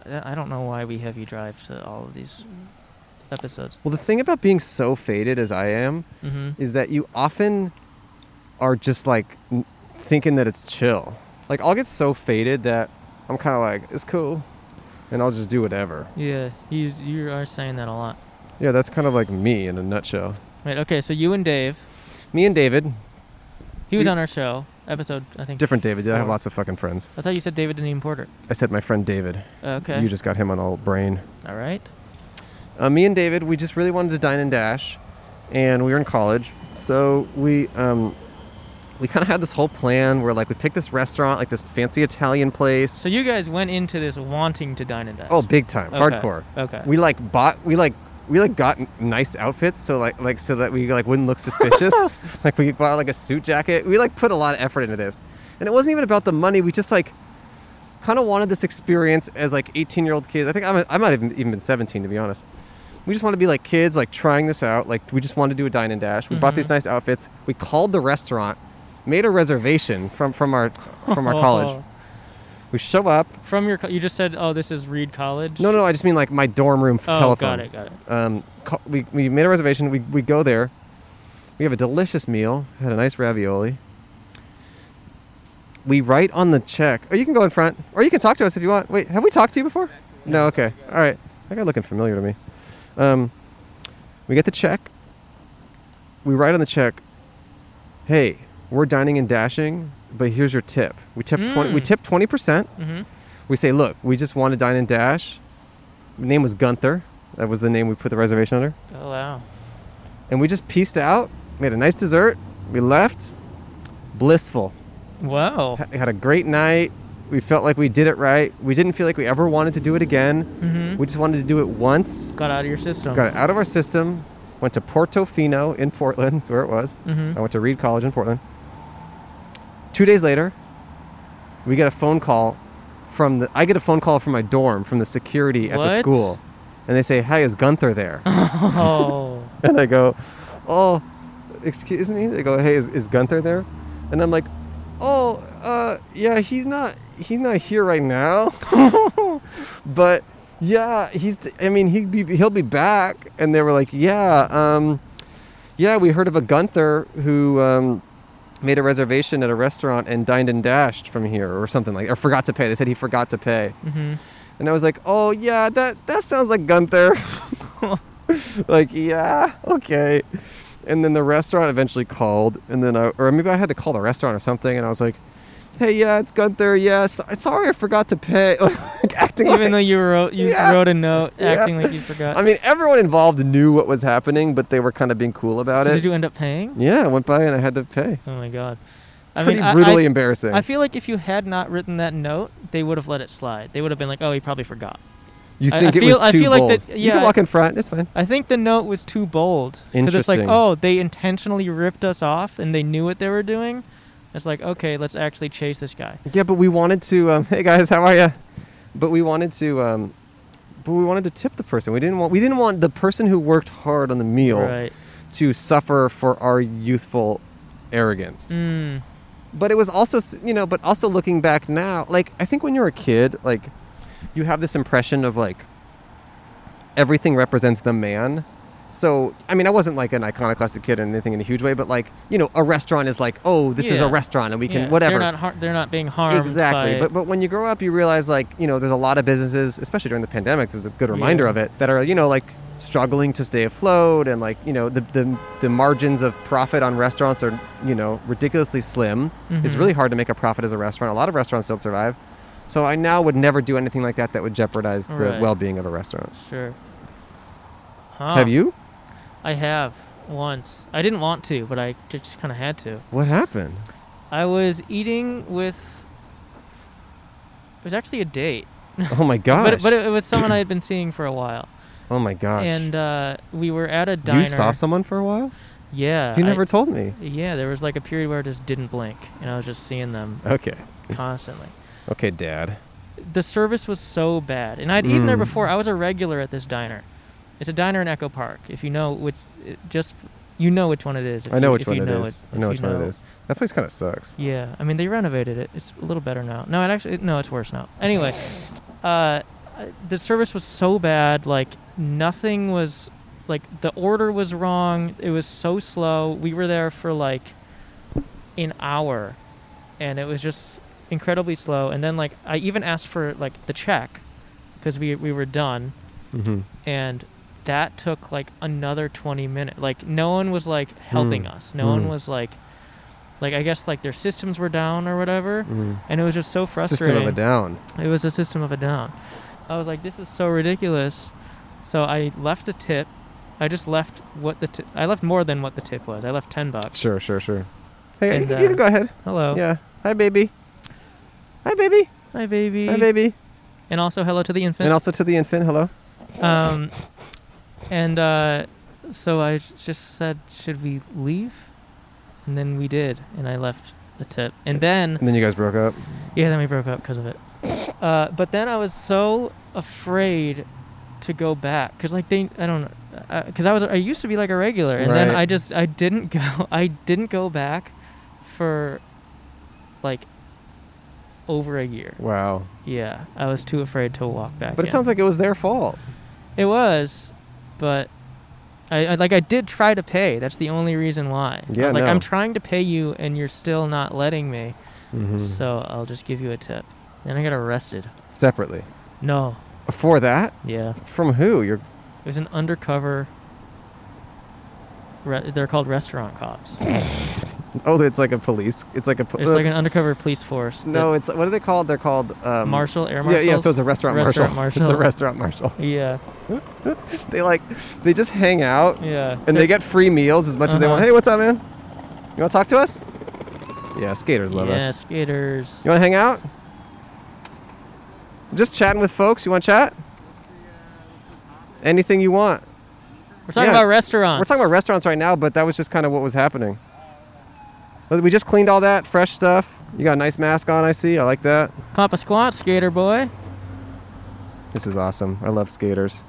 A: I I don't know why we have you drive to all of these episodes.
B: Well, the thing about being so faded as I am
A: Mm-hmm.
B: is that you often are just like n- thinking that it's chill. Like I'll get so faded that I'm kind of like it's cool, and I'll just do whatever.
A: Yeah, you you are saying that a lot.
B: Yeah, that's kind of like me in a nutshell.
A: Right. Okay. So you and Dave,
B: Me and David,
A: he was
B: We-
A: on our show episode. I think.
B: different David. Yeah, I have
A: Sure.
B: lots of fucking friends.
A: I thought you said David didn't even Porter. Uh,
B: I said my friend David.
A: Okay.
B: You just got him on all brain.
A: all right.
B: uh, me and David, we just really wanted to dine and dash, and we were in college, so we um, we kind of had this whole plan where like we picked this restaurant, like this fancy Italian place.
A: So you guys went into this wanting to dine and dash.
B: Oh, big time,
A: Okay,
B: hardcore.
A: Okay.
B: We like bought, we like we like got n- nice outfits, so like like so that we like wouldn't look suspicious. like we bought like a suit jacket. We like put a lot of effort into this, and it wasn't even about the money. We just like kind of wanted this experience as like 18 year old kids. I think I'm, I might have even been 17 to be honest. we just want to be like kids, like trying this out. Like we just want to do a dine and dash. We bought
A: Mm-hmm.
B: these nice outfits. We called the restaurant, made a reservation from from our from our college. We show up.
A: Oh, From your, co- you just said, oh, this is Reed College.
B: No, no, I just mean like my dorm room f-
A: Oh,
B: telephone.
A: got it, got it.
B: Um, ca- we we made a reservation. We we go there. We have a delicious meal. Had a nice ravioli. We write on the check. Or you can go in front, or you can talk to us if you want. Wait, have we talked to you before? No. Okay. All right. That guy looking familiar to me. Um, we get the check. We write on the check. Hey, we're dining and dashing, but here's your tip. We tip twenty. We
A: Mm.
B: tip twenty percent.
A: Mhm.
B: We say, look, we just want to dine and dash. The name was Gunther. That was the name we put the reservation under.
A: Oh wow.
B: And we just pieced out, made a nice dessert. We left. Blissful.
A: Wow.
B: Ha- Had a great night. We felt like we did it right. We didn't feel like we ever wanted to do it again.
A: Mm-hmm.
B: We just wanted to do it once.
A: Got out of your system.
B: Got it out of our system. Went to Portofino in Portland, that's where it was.
A: Mhm.
B: I went to Reed College in Portland. Two days later, we get a phone call from the. I get a phone call from my dorm from the security at the
A: What?
B: school, and they say, "Hi, is Gunther there?"
A: Oh.
B: and I go, "Oh, excuse me." They go, "Hey, is, is Gunther there?" And I'm like, "Oh, uh, yeah, he's not. He's not here right now, but yeah, he's. I mean, he be, he'll be back." And they were like, "Yeah, um, yeah, we heard of a Gunther who." Um, Made a reservation at a restaurant and dined and dashed from here, or something like, or forgot to pay. They said he forgot to pay,
A: hmm
B: and I was like, "Oh yeah, that that sounds like Gunther." like, yeah, okay. And then the restaurant eventually called, and then I, or maybe I had to call the restaurant or something, and I was like, "Hey, yeah, it's Gunther. Yes, sorry, I forgot to pay." like acting
A: Even
B: like,
A: though you wrote, you
B: Yeah.
A: wrote a note
B: Yeah.
A: acting like you forgot.
B: I mean, everyone involved knew what was happening, but they were kind of being cool about
A: So
B: it.
A: did you end up paying?
B: yeah, I went by and I had to pay.
A: Oh my god. I
B: Pretty
A: mean, I-
B: brutally
A: I,
B: embarrassing.
A: I feel like if you had not written that note, they would have let it slide. They would have been like, "Oh, he probably forgot."
B: you
A: I- I
B: think it
A: feel-
B: was
A: I
B: too
A: feel like
B: bold?
A: that-
B: you can
A: yeah,
B: walk in front. It's fine.
A: I think the note was too bold. 'Cause It's like,
B: Interesting.
A: oh, they intentionally ripped us off, and they knew what they were doing. It's like, okay, let's actually chase this guy.
B: Yeah, but we wanted to. Um, hey guys, how are you? But we wanted to. Um, but we wanted to tip the person. We didn't want. We didn't want the person who worked hard on the meal
A: Right.
B: to suffer for our youthful arrogance.
A: Mm.
B: But it was also, s- you know, but also looking back now, like I think when you're a kid, like you have this impression of like everything represents the man. So I mean, I wasn't like an iconoclastic kid or anything in a huge way, but like you know, a restaurant is like, oh, this is a
A: Yeah.
B: restaurant, and we can
A: Yeah,
B: whatever.
A: They're not. Har- they're not being harmed.
B: Exactly.
A: by-
B: But but when you grow up, you realize like you know there's a lot of businesses, especially during the pandemic, there's a good reminder
A: Yeah.
B: of it that are you know like struggling to stay afloat and like you know the the, the margins of profit on restaurants are you know ridiculously slim. It's
A: Mhm.
B: really hard to make a profit as a restaurant. A lot of restaurants don't survive. So I now would never do anything like that that would jeopardize the
A: Right.
B: well-being of a restaurant.
A: sure. Huh.
B: Have you?
A: I have once. I didn't want to, but I ju- just kind of had to.
B: What happened?
A: I was eating with. It was actually a date,
B: Oh my gosh!
A: but it, but it, was someone I had been seeing for a while,
B: oh my gosh!
A: and uh, we were at a diner.
B: you saw someone for a while.
A: Yeah.
B: You
A: I-
B: never told me.
A: yeah, there was like a period where I just didn't blink, and I was just seeing them
B: Okay.
A: constantly.
B: Okay, Dad.
A: The service was so bad, and I'd eaten there
B: Mm.
A: before. I was a regular at this diner. It's a diner in Echo Park. If you know which, it just you know which one it is. if
B: I know
A: you-
B: which
A: if you
B: one it
A: know
B: is. I know
A: if
B: which
A: you
B: one it is. That place kind of sucks.
A: Yeah, I mean they renovated it. It's a little better now. No, it actually no, it's worse now. Anyway, uh, I- the service was so bad. Like nothing was, like the order was wrong. It was so slow. We were there for like an hour, and it was just incredibly slow. And then like I even asked for like the check, because we we were done,
B: Mm-hmm.
A: and that took like another 20 minutes like no one was like helping
B: Mm.
A: us no one
B: Mm.
A: was like like i guess like their systems were down or whatever
B: Mm.
A: and it was just so
B: System
A: frustrating
B: of a Down.
A: it was a system of a down i was like this is so ridiculous so i left a tip i just left what the ti- I left more than what the tip was i left 10 bucks
B: Sure, sure, sure. Hey,
A: And,
B: you, can- you
A: uh,
B: can go ahead.
A: hello
B: Yeah. Hi, baby. Hi, baby.
A: hi baby
B: Hi, baby.
A: and also hello to the infant
B: And also to the infant. Hello.
A: um, and uh, so I j- just said, "Should we leave?" And then we did, and I left the tip. And then,
B: And then you guys broke up.
A: yeah, then we broke up because of it. Uh, but then I was so afraid to go back because like they I don't know because I was I used to be like a regular and then
B: Right.
A: I just I didn't go I didn't go back for like over a year.
B: Wow.
A: Yeah, I was too afraid to walk back.
B: But it sounds like it was their fault.
A: it was, but I, I like I did try to pay. That's the only reason why. I
B: Yeah,
A: was like
B: no.
A: I'm trying to pay you and you're still not letting me.
B: Mhm.
A: So I'll just give you a tip. Then I got arrested.
B: Separately.
A: No.
B: For that?
A: Yeah.
B: From who? Your
A: It was an undercover. Re- they're called restaurant cops.
B: Oh, it's like a police. It's like a. po- uh,
A: It's like an undercover police force. that-
B: no, it's what are they called? They're called um,
A: marshal air
B: Yeah,
A: marshal.
B: yeah. So it's a restaurant,
A: Restaurant
B: marshal. It's a
A: marshal.
B: restaurant marshal.
A: Yeah,
B: They like, they just hang out
A: yeah.
B: and they get free meals as much as they want.
A: Uh-huh.
B: Hey, what's up, man? You want to talk to us? Yeah, skaters love
A: yeah,
B: us.
A: skaters.
B: You want to hang out? I'm just chatting with folks. You want to chat? Anything you want.
A: We're talking
B: yeah.
A: about restaurants.
B: We're talking about restaurants right now, but that was just kind of what was happening. But We just cleaned all that fresh stuff. You got a nice mask on, I see. I like that.
A: Papa Squat, skater boy.
B: This is awesome. I love skaters.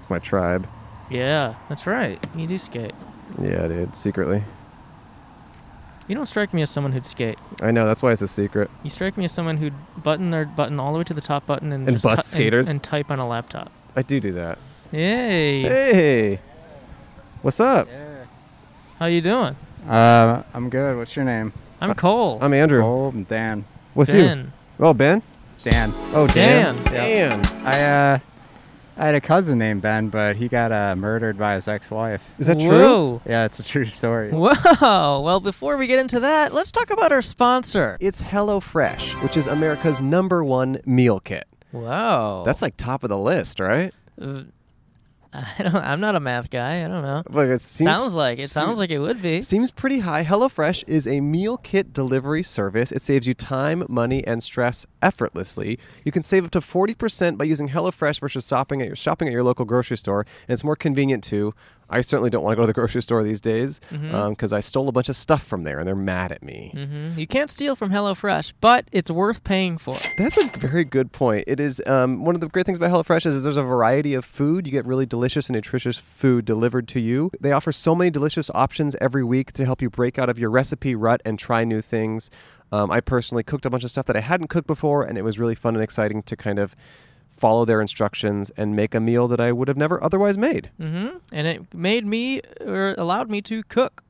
B: It's my tribe.
A: Yeah, that's right. You do skate.
B: Yeah, dude. Secretly,
A: You don't strike me as someone who'd skate.
B: I know. That's why it's a secret.
A: You strike me as someone who'd button their button all the way to the top button and,
B: And
A: just
B: bust
A: tu-
B: skaters?
A: and, and type on a laptop.
B: I do do that.
A: Yay!
B: Hey, what's up?
A: How you doing?
H: Uh, I'm good. What's your name?
A: I'm Cole.
B: I'm Andrew.
H: Oh, I'm Dan.
B: What's you?
A: Dan.
B: Oh, Ben.
H: Dan.
B: Oh, Dan.
H: Dan. I uh, I had a cousin named Ben, but he got uh, murdered by his ex-wife.
B: Is that true?
A: Whoa.
H: Yeah, it's a true story.
A: Wow. Well, before we get into that, let's talk about our sponsor.
B: It's HelloFresh, which is America's number one meal kit.
A: Wow.
B: That's like top of the list, right?
A: Uh, I don't. I'm not a math guy. I don't know.
B: Like it seems,
A: sounds like it. Sounds like it would be.
B: Seems pretty high. HelloFresh is a meal kit delivery service. It saves you time, money, and stress effortlessly. You can save up to 40% by using HelloFresh versus shopping at your shopping at your local grocery store, and it's more convenient too. I certainly don't want to go to the grocery store these days because I stole a bunch of stuff from there, and they're mad at me.
A: hmm You can't steal from HelloFresh, but it's worth paying for.
B: That's a very good point. It is um, one of the great things about HelloFresh is there's a variety of food. You get really delicious and nutritious food delivered to you. They offer so many delicious options every week to help you break out of your recipe rut and try new things. Um, I personally cooked a bunch of stuff that I hadn't cooked before, and it was really fun and exciting to kind of follow their instructions and make a meal that I would have never otherwise made.
A: hmm And it made me or allowed me to cook.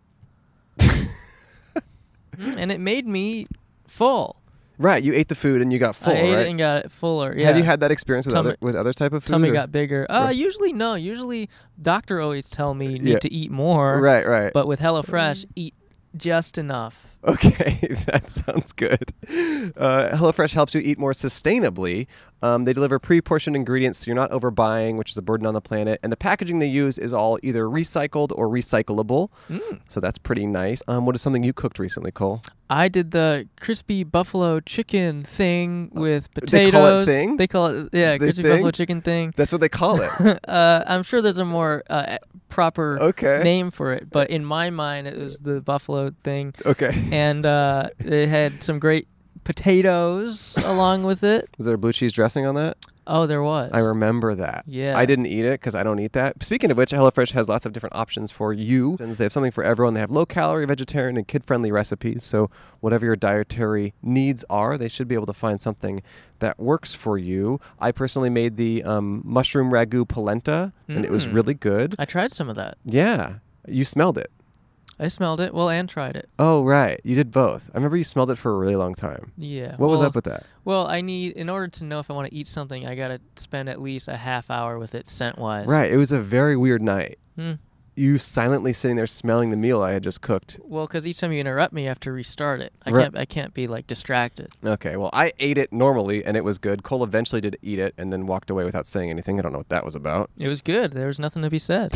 A: Mm, and it made me full.
B: Right? You ate the food and you got full.
A: I ate
B: right?
A: it and got it fuller. Yeah.
B: Have you had that experience with
A: Tummy-
B: other with other type of food?
A: Tummy
B: or-
A: got bigger. Uh, usually no. Usually doctor always tell me you need
B: Yeah.
A: to eat more.
B: right, Mm. right.
A: But with HelloFresh, eat just enough.
B: Okay, that sounds good. Uh, HelloFresh helps you eat more sustainably. Um, they deliver pre portioned ingredients so you're not overbuying, which is a burden on the planet. And the packaging they use is all either recycled or recyclable.
A: Mm.
B: So that's pretty nice. Um, what is something you cooked recently, Cole?
A: I did the crispy buffalo chicken thing with
B: Uh, they
A: potatoes.
B: call it thing?
A: They call it yeah,
B: They
A: crispy
B: thing?
A: buffalo chicken thing.
B: That's what they call it.
A: Uh, I'm sure there's a more uh, proper
B: Okay.
A: name for it, but in my mind, it was the buffalo thing,
B: okay.
A: and uh, it had some great potatoes along with it.
B: Was there a blue cheese dressing on that?
A: Oh, there was.
B: I remember that.
A: Yeah.
B: I didn't eat it because I don't eat that. Speaking of which, HelloFresh has lots of different options for you. They have something for everyone. They have low calorie, vegetarian, and kid friendly recipes. So, whatever your dietary needs are, they should be able to find something that works for you. I personally made the um, mushroom ragu polenta, and it was
A: Mm.
B: really good.
A: I tried some of that.
B: Yeah. You smelled it.
A: I smelled it. Well, and tried it.
B: Oh, right. You did both. I remember you smelled it for a really long time.
A: Yeah.
B: What was
A: well-
B: up with that?
A: Well, I need in order to know if I want to eat something, I gotta spend at least a half hour with it scent wise.
B: Right. It was a very weird night.
A: Hmm.
B: You silently sitting there smelling the meal I had just cooked.
A: Well, because each time you interrupt me, I have to restart it. I
B: Right.
A: can't. I can't be like distracted.
B: Okay, well, I ate it normally and it was good. Cole eventually did eat it and then walked away without saying anything. I don't know what that was about.
A: It was good. There was nothing to be said.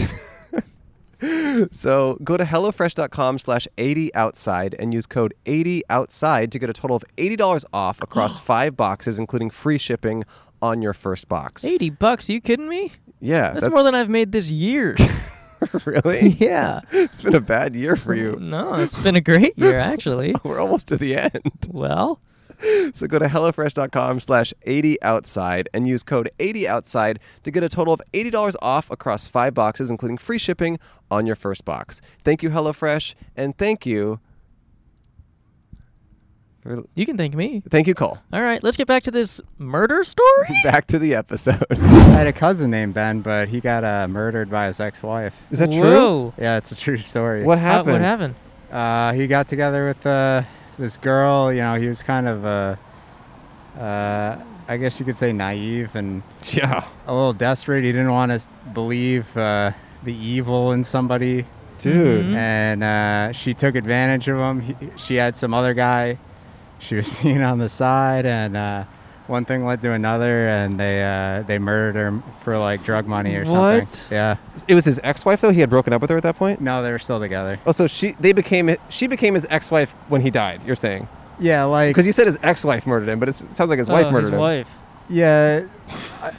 B: So go to HelloFresh.com slash 80Outside and use code 80Outside to get a total of $80 off across five boxes, including free shipping on your first box.
A: Eighty bucks? you kidding me?
B: Yeah,
A: That's, more than I've made this year.
B: really?
A: yeah. Mm.
B: It's been a
A: Oh,
B: bad year for you.
A: No, it's been a great year actually.
B: We're almost to the end.
A: Well,
B: So go to HelloFresh.com slash 80outside and use code 80outside to get a total of $80 off across five boxes, including free shipping on your first box. Thank you, HelloFresh, and thank you. for-
A: You can thank me.
B: Thank you, Cole.
A: All right, let's get back to this murder story.
B: Back to the episode.
H: I had a cousin named Ben, but he got uh, murdered by his ex-wife.
B: Is that true?
A: Whoa.
H: Yeah, it's a true story.
B: What
A: How-
B: happened?
A: what happened?
H: Uh, he got together with uh, this girl. You know, he was kind of, uh, uh, I guess you could say, naive and
B: Yeah.
H: a little desperate. He didn't want to believe uh, the evil in somebody,
B: Dude.
A: Mhm.
H: and uh, she took advantage of him. He, she had some other guy she was seeing on the side, and uh, one thing led to another, and they uh, they murdered him for like drug money or
A: What?
H: something. Yeah.
B: It was his ex-wife, though? He had broken up with her at that point?
H: No, they were still together.
B: Oh, so she, they became, she became his ex-wife when he died, you're saying?
H: Yeah, like
B: Because you said his ex-wife murdered him, but it's- it sounds like his wife
A: Oh,
B: murdered
A: his
B: him.
A: wife.
H: Yeah. I-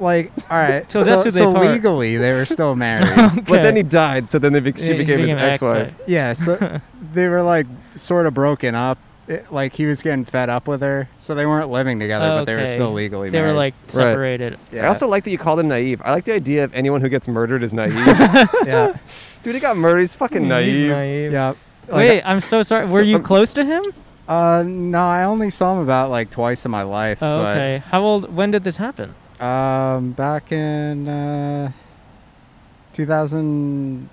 H: Like, all right.
A: Till death
H: so
A: do they
H: so
A: part.
H: legally, they were still married.
B: But then
A: Okay.
B: he died, so then they, be- she
A: Yeah, he
B: became, his
A: became
B: ex-wife.
A: ex-wife.
H: yeah. So they were like sort of broken up. It- like he was getting fed up with her, so they weren't living together, but they were
A: Okay.
H: still legally
A: They
H: married.
A: were like separated.
B: I also like that you called him naive. I like the idea of anyone who gets murdered is naive.
H: yeah,
B: Dude, he got murdered. He's fucking
A: He's
B: naive.
A: naive.
H: yeah. Like,
A: Wait, I'm so sorry. Were you close to him?
H: Uh, no, I only saw him about like twice in my life.
A: Oh, okay. How old? When did this happen?
H: But, um, back in uh, 2011.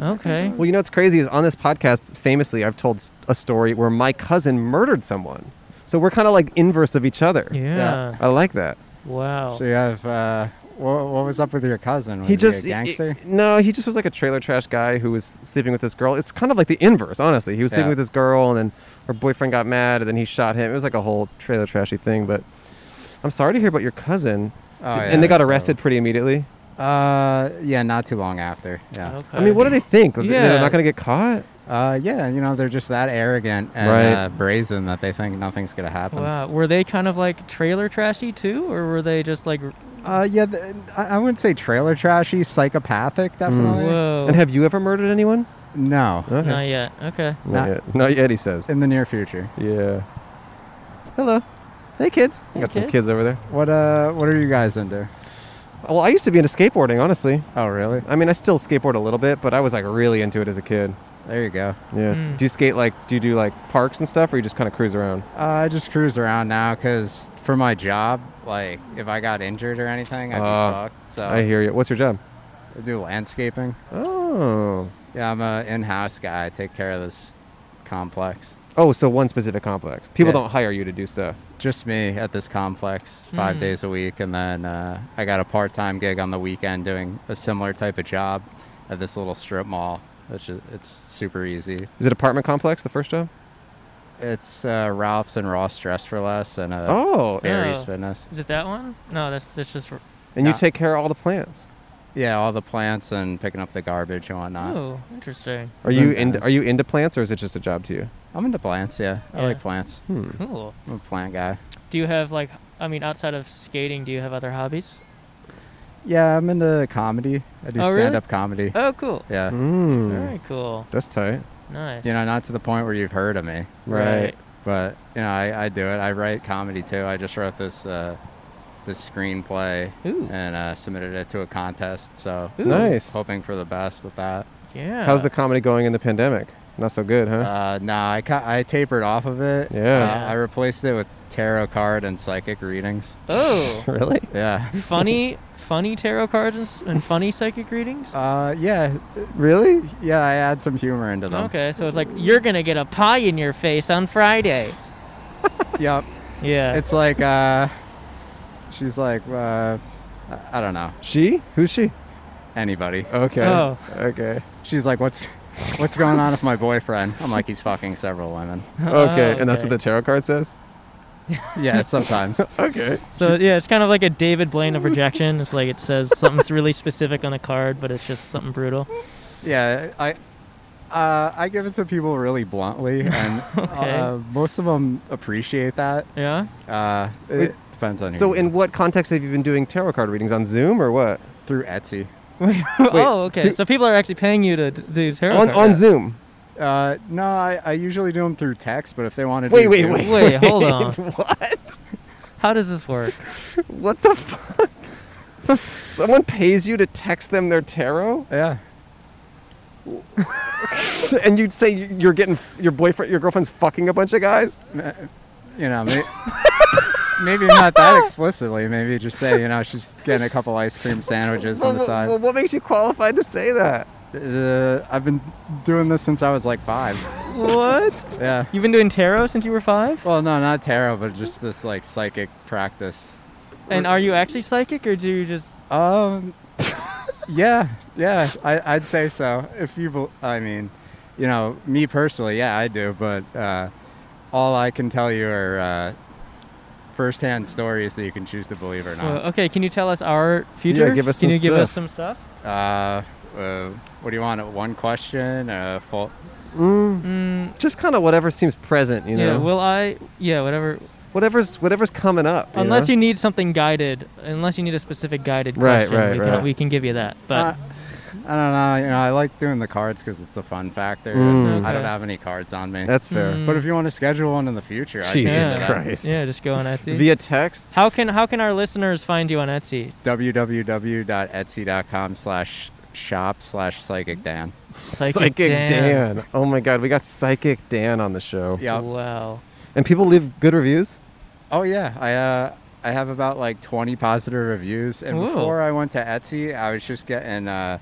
A: Okay.
B: Well, you know what's crazy is on this podcast, famously, I've told s- a story where my cousin murdered someone. So we're kind of like inverse of each other.
A: Yeah.
B: I like that.
A: Wow.
H: So you have uh, what, what was up with your cousin? Was
B: he just
H: a gangster.
B: i- i- no, he just was like a trailer trash guy who was sleeping with this girl. It's kind of like the inverse, honestly. He was sleeping
H: Yeah.
B: with this girl, and then her boyfriend got mad, and then he shot him. It was like a whole trailer trashy thing. But I'm sorry to hear about your cousin.
H: Oh,
B: D-
H: yeah,
B: and they got
H: so-
B: arrested pretty immediately.
H: Uh, yeah, not too long after. Yeah.
A: Okay.
B: I mean, what do they think? That They're
A: Yeah.
B: not going to get caught.
H: Uh, yeah, you know they're just that arrogant and
B: Right.
H: uh, brazen that they think nothing's gonna happen.
A: Wow. Were they kind of like trailer trashy too, or were they just like? r-
H: Uh, yeah, th- I-, I wouldn't say trailer trashy, psychopathic,
B: Hmm.
H: definitely.
A: Whoa.
B: And have you ever murdered anyone?
H: No,
B: Okay.
A: Oh. Not yet. Okay.
B: Not
H: Not-
B: yet. Not yet, he says.
H: in the near future.
B: Yeah. Hello. Hey, kids.
A: Hey,
B: got some
A: kids.
B: kids over there.
H: What uh, what are you guys into?
B: Well, I used to be into skateboarding, honestly.
H: Oh, really?
B: I mean, I still skateboard a little bit, but I was like really into it as a kid.
H: There you go.
B: Yeah.
A: Mm.
B: Do you skate like, do you do like parks and stuff, or you just kind of cruise around?
H: Uh, I just cruise around now because for my job, like if I got injured or anything, I'd
B: Uh,
H: be fucked. So
B: I hear you. What's your job?
H: I do landscaping.
B: Oh.
H: Yeah, I'm a in-house guy. I take care of this complex.
B: Oh, so one specific complex. People
H: Yeah.
B: don't hire you to do stuff.
H: just me at this complex five
A: Mm.
H: days a week and then uh, i got a part-time gig on the weekend doing a similar type of job at this little strip mall which is it's super easy
B: Is it apartment complex, the first job?
H: it's uh, ralph's and ross dress for less and uh,
B: oh.
H: Barry's
A: Oh.
H: fitness
A: Is it that one? No, that's that's just. For,
B: And you
H: yeah.
B: take care of all the plants.
H: yeah all the plants and picking up the garbage and whatnot
A: oh, interesting.
B: Are
H: It's
B: you
H: in
B: into,
H: Venice.
B: are you into plants, or is it just a job to you?
H: i'm into plants yeah, i
A: Yeah.
H: like plants
B: Hmm.
A: Cool.
H: i'm a plant guy
A: Do you have like? I mean, outside of skating, do you have other hobbies?
H: yeah i'm into comedy i do
A: Oh, really?
H: stand-up comedy
A: Oh, cool.
H: yeah
B: Mm.
A: Very cool.
B: That's tight.
A: Nice.
H: you know not to the point where you've heard of me
B: Right.
H: but you know I, I do it i write comedy too i just wrote this uh, this screenplay
A: Ooh.
H: and uh, submitted it to a contest so
A: Ooh.
B: Nice.
H: hoping for the best with that
A: Yeah.
B: How's the comedy going in the pandemic? Not so good, huh?
H: uh, no I, ca- I tapered off of it
B: Yeah.
H: Uh, i replaced it with tarot card and psychic readings
A: Oh.
B: really?
H: yeah
A: funny, funny tarot cards and, s- and funny psychic readings.
H: uh, yeah
B: Really?
H: yeah i add some humor into them
A: Okay, so it's like you're gonna get a pie in your face on Friday.
H: yep
A: Yeah.
H: it's like uh, she's like uh, I- i don't know
B: She? Who's she?
H: anybody
B: Okay.
A: Oh.
B: Okay.
H: she's like what's what's going on with my boyfriend i'm like he's fucking several women
B: Okay. And that's what
A: Oh, okay.
B: the tarot card says?
H: Yeah, sometimes.
B: Okay.
A: so yeah, it's kind of like a David Blaine of rejection. It's like it says something's really specific on a card, but it's just something brutal.
H: yeah, I uh, I give it to people really bluntly, and uh,
A: Okay.
H: most of them appreciate that.
A: Yeah.
H: Uh, it
B: Wait,
H: depends on
B: So,
H: your
B: in what context have you been doing tarot card readings? On Zoom or what?
H: through Etsy.
A: Wait, oh, okay.
B: do-
A: so people are actually paying you to d- do tarot
B: On,
A: cards.
B: on Zoom.
H: Uh, no, I, I usually do them through text, but if they want to
B: Wait,
H: do
B: wait,
H: Zoom-
B: wait.
A: Wait, hold on.
B: What?
A: How does this work?
B: What the fuck? Someone pays you to text them their tarot,
H: Yeah.
B: and you'd say you're getting your boyfriend, your girlfriend's fucking a bunch of guys.
H: You know, may- maybe not that explicitly. Maybe just say, you know, she's getting a couple ice cream sandwiches on the side.
B: what makes you qualified to say that?
H: Uh, I've been doing this since I was like five.
A: What?
H: Yeah.
A: You've been doing tarot since you were five?
H: Well, no, not tarot, but just this like psychic practice.
A: And are you actually psychic or do you just.
H: Um, yeah, yeah, I, I'd say so. If you, bel I mean, you know, me personally, yeah, I do. But uh, all I can tell you are uh, firsthand stories that you can choose to believe or
A: Well,
H: not.
A: okay, can you tell us our future?
B: give us
A: Can
B: some
A: you give us
B: stuff.
A: some stuff?
H: Uh, uh, what do you want? One question? Uh, full.
B: Mm,
A: Mm,
B: just kind of whatever seems present, you
A: yeah,
B: know.
A: will I. Yeah, whatever.
B: whatever's whatever's coming up.
A: Unless
B: know?
A: you need something guided, unless you need a specific guided
B: Right,
A: question,
B: right,
A: we,
B: right.
A: Can, we can give you that.
H: Uh,
A: But
H: I don't know. You know, I like doing the cards because it's the fun factor.
B: Mm.
H: I don't
A: Okay.
H: have any cards on me.
B: That's fair.
A: Mm.
H: But if you want to schedule one in the future, I can do
B: Jesus
A: yeah.
H: that.
B: Christ.
A: yeah, just go on Etsy.
B: Via text.
A: how can how can our listeners find you on Etsy?
H: www.etsy.com slash shop slash psychic dan
A: Psychic Dan.
B: Dan. Oh my God, we got Psychic Dan on the show.
H: yeah
A: Wow.
B: And people leave good reviews.
H: oh yeah i uh i have about like 20 positive reviews and
A: Ooh.
H: before i went to etsy i was just getting uh,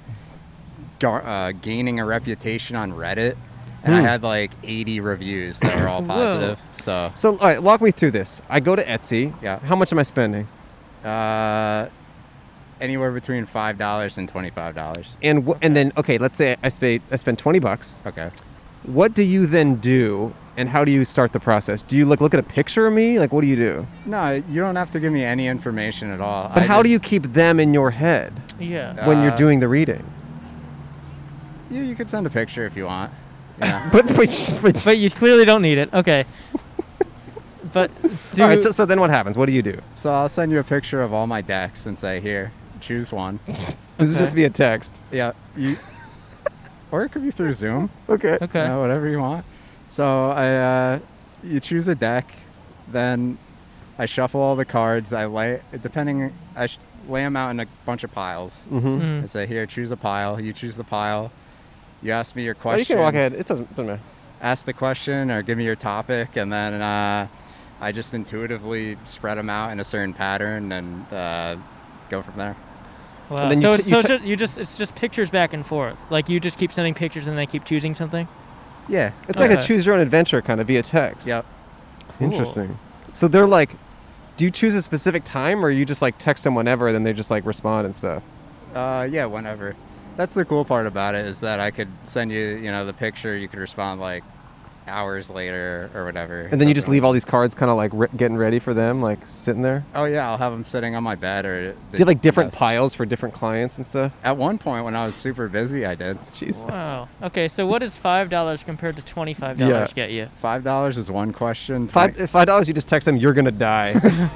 H: gar- uh gaining a reputation on reddit and i
B: Hmm.
H: had like 80 reviews that were all
A: Whoa.
H: positive so
B: So, all right, walk me through this. I go to Etsy.
H: Yeah.
B: How much am I spending?
H: uh anywhere between five dollars and 25 dollars
B: And wh- and then okay, let's say I spend I spend twenty bucks.
H: okay
B: What do you then do? And how do you start the process? Do you like look at a picture of me? Like, what do you do?
H: no you don't have to give me any information at all
B: But
H: I
B: how
H: just-
B: do you keep them in your head
A: Yeah.
B: when you're
H: Uh,
B: doing the reading?
H: you, you could send a picture if you want yeah
B: But, but, but
A: But you clearly don't need it. Okay. but do
B: all right. So, so then what happens? What do you do?
H: So I'll send you a picture of all my decks and say, here, choose one.
B: This is
A: Okay.
B: just via text.
H: yeah, you, or it could be through Zoom.
B: Okay.
A: okay.
H: You know, whatever you want. So I, uh, you choose a deck, then I shuffle all the cards. I lay, depending, I sh- lay them out in a bunch of piles.
B: Mm-hmm.
A: Mm.
H: I say, here, choose a pile. You choose the pile. You ask me your question.
B: Oh, you can walk ahead. It doesn't, doesn't matter.
H: ask the question or give me your topic, and then uh, I just intuitively spread them out in a certain pattern and uh, go from there.
A: Wow.
B: then
A: so
B: you t-
A: it's,
B: you
A: so
B: t-
A: it's ju- you just it's just pictures back and forth. Like you just keep sending pictures and they keep choosing something.
H: Yeah.
B: It's like a
A: Okay.
B: choose your own adventure kind of via text.
H: Yep.
A: Cool.
B: Interesting. So they're like, do you choose a specific time or you just like text them whenever and then they just like respond and stuff?
H: Uh, yeah. Whenever. That's the cool part about it is that I could send you, you know, the picture. You could respond like hours later or whatever.
B: And then you just leave all these cards kind of like re- getting ready for them, like sitting there?
H: Oh yeah, I'll have them sitting on my bed or.
B: Do you have like different
H: Yeah.
B: piles for different clients and stuff?
H: At one point, when I was super busy, I did.
B: Jesus.
A: Wow. Okay. So what is five dollars compared to twenty five dollars get you?
H: Five dollars is one question.
B: Five,
H: twenty-
B: if five dollars, you just text them, you're gonna die.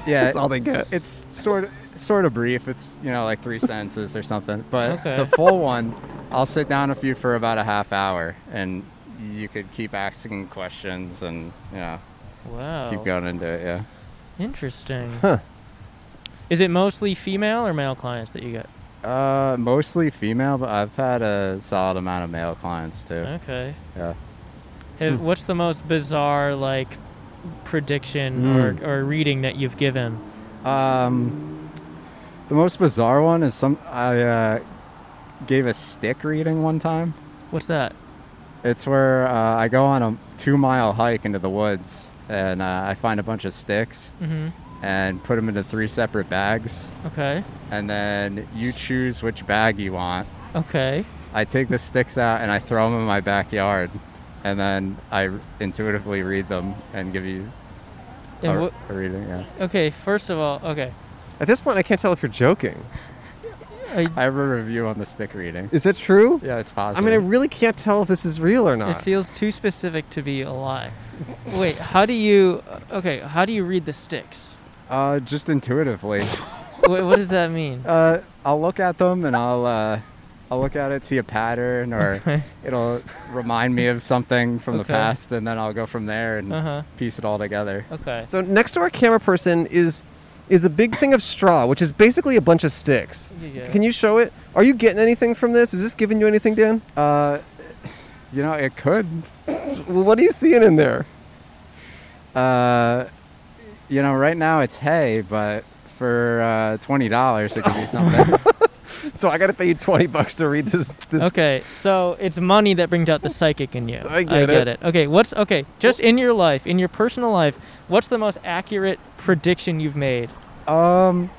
H: Yeah.
B: That's all they get.
H: it's sort of sort of brief. It's you know like three sentences or something. But
A: Okay.
H: the full one, I'll sit down with you for about a half hour, and you could keep asking questions and you know
A: Wow.
H: keep going into it. Yeah.
A: Interesting.
B: Huh.
A: Is it mostly female or male clients that you get?
H: Uh, mostly female, but I've had a solid amount of male clients too.
B: Uh,
A: Okay.
H: Yeah.
A: Have,
B: hmm.
A: What's the most bizarre like prediction
B: Mm.
A: or, or reading that you've given?
H: Um, the most bizarre one is some I uh, gave a stick reading one time.
A: What's that?
H: It's where uh, I go on a two mile hike into the woods and uh, I find a bunch of sticks.
A: hmm
H: and put them into three separate bags.
A: Okay.
H: And then you choose which bag you want.
A: Okay.
H: I take the sticks out and I throw them in my backyard. And then I r- intuitively read them and give you a,
A: And
H: a
A: wh-
H: reading. Yeah.
A: okay. First of all, okay.
B: At this point, I can't tell if you're joking.
A: I,
H: I have a review on the stick reading.
B: Is that true?
H: Yeah, it's
B: I
H: positive.
B: mean, I really can't tell if this is real or
A: it
B: not.
A: feels too specific to be a lie. Wait. How do you? Okay. How do you read the sticks?
H: uh, just intuitively.
A: Wait, what does that mean?
H: uh, I'll look at them and I'll uh, I'll look at it, see a pattern, or
A: Okay.
H: it'll remind me of something from the
A: Okay.
H: past, and then I'll go from there and
A: Uh-huh.
H: piece it all together.
A: Okay.
B: So next to our camera person is is a big thing of straw, which is basically a bunch of sticks.
A: Yeah, yeah.
B: Can you show it? Are you getting anything from this? Is this giving you anything, Dan?
H: Uh, you know, it could.
B: Well, what are you seeing in there?
H: Uh, you know, right now it's hay, but for uh, twenty dollars, it could be something.
B: So I got to pay you twenty bucks to read this. this
A: Okay, so it's money that brings out the psychic in you.
B: I get it.
A: Okay, what's okay? Just in your life, in your personal life, what's the most accurate prediction you've made?
H: um,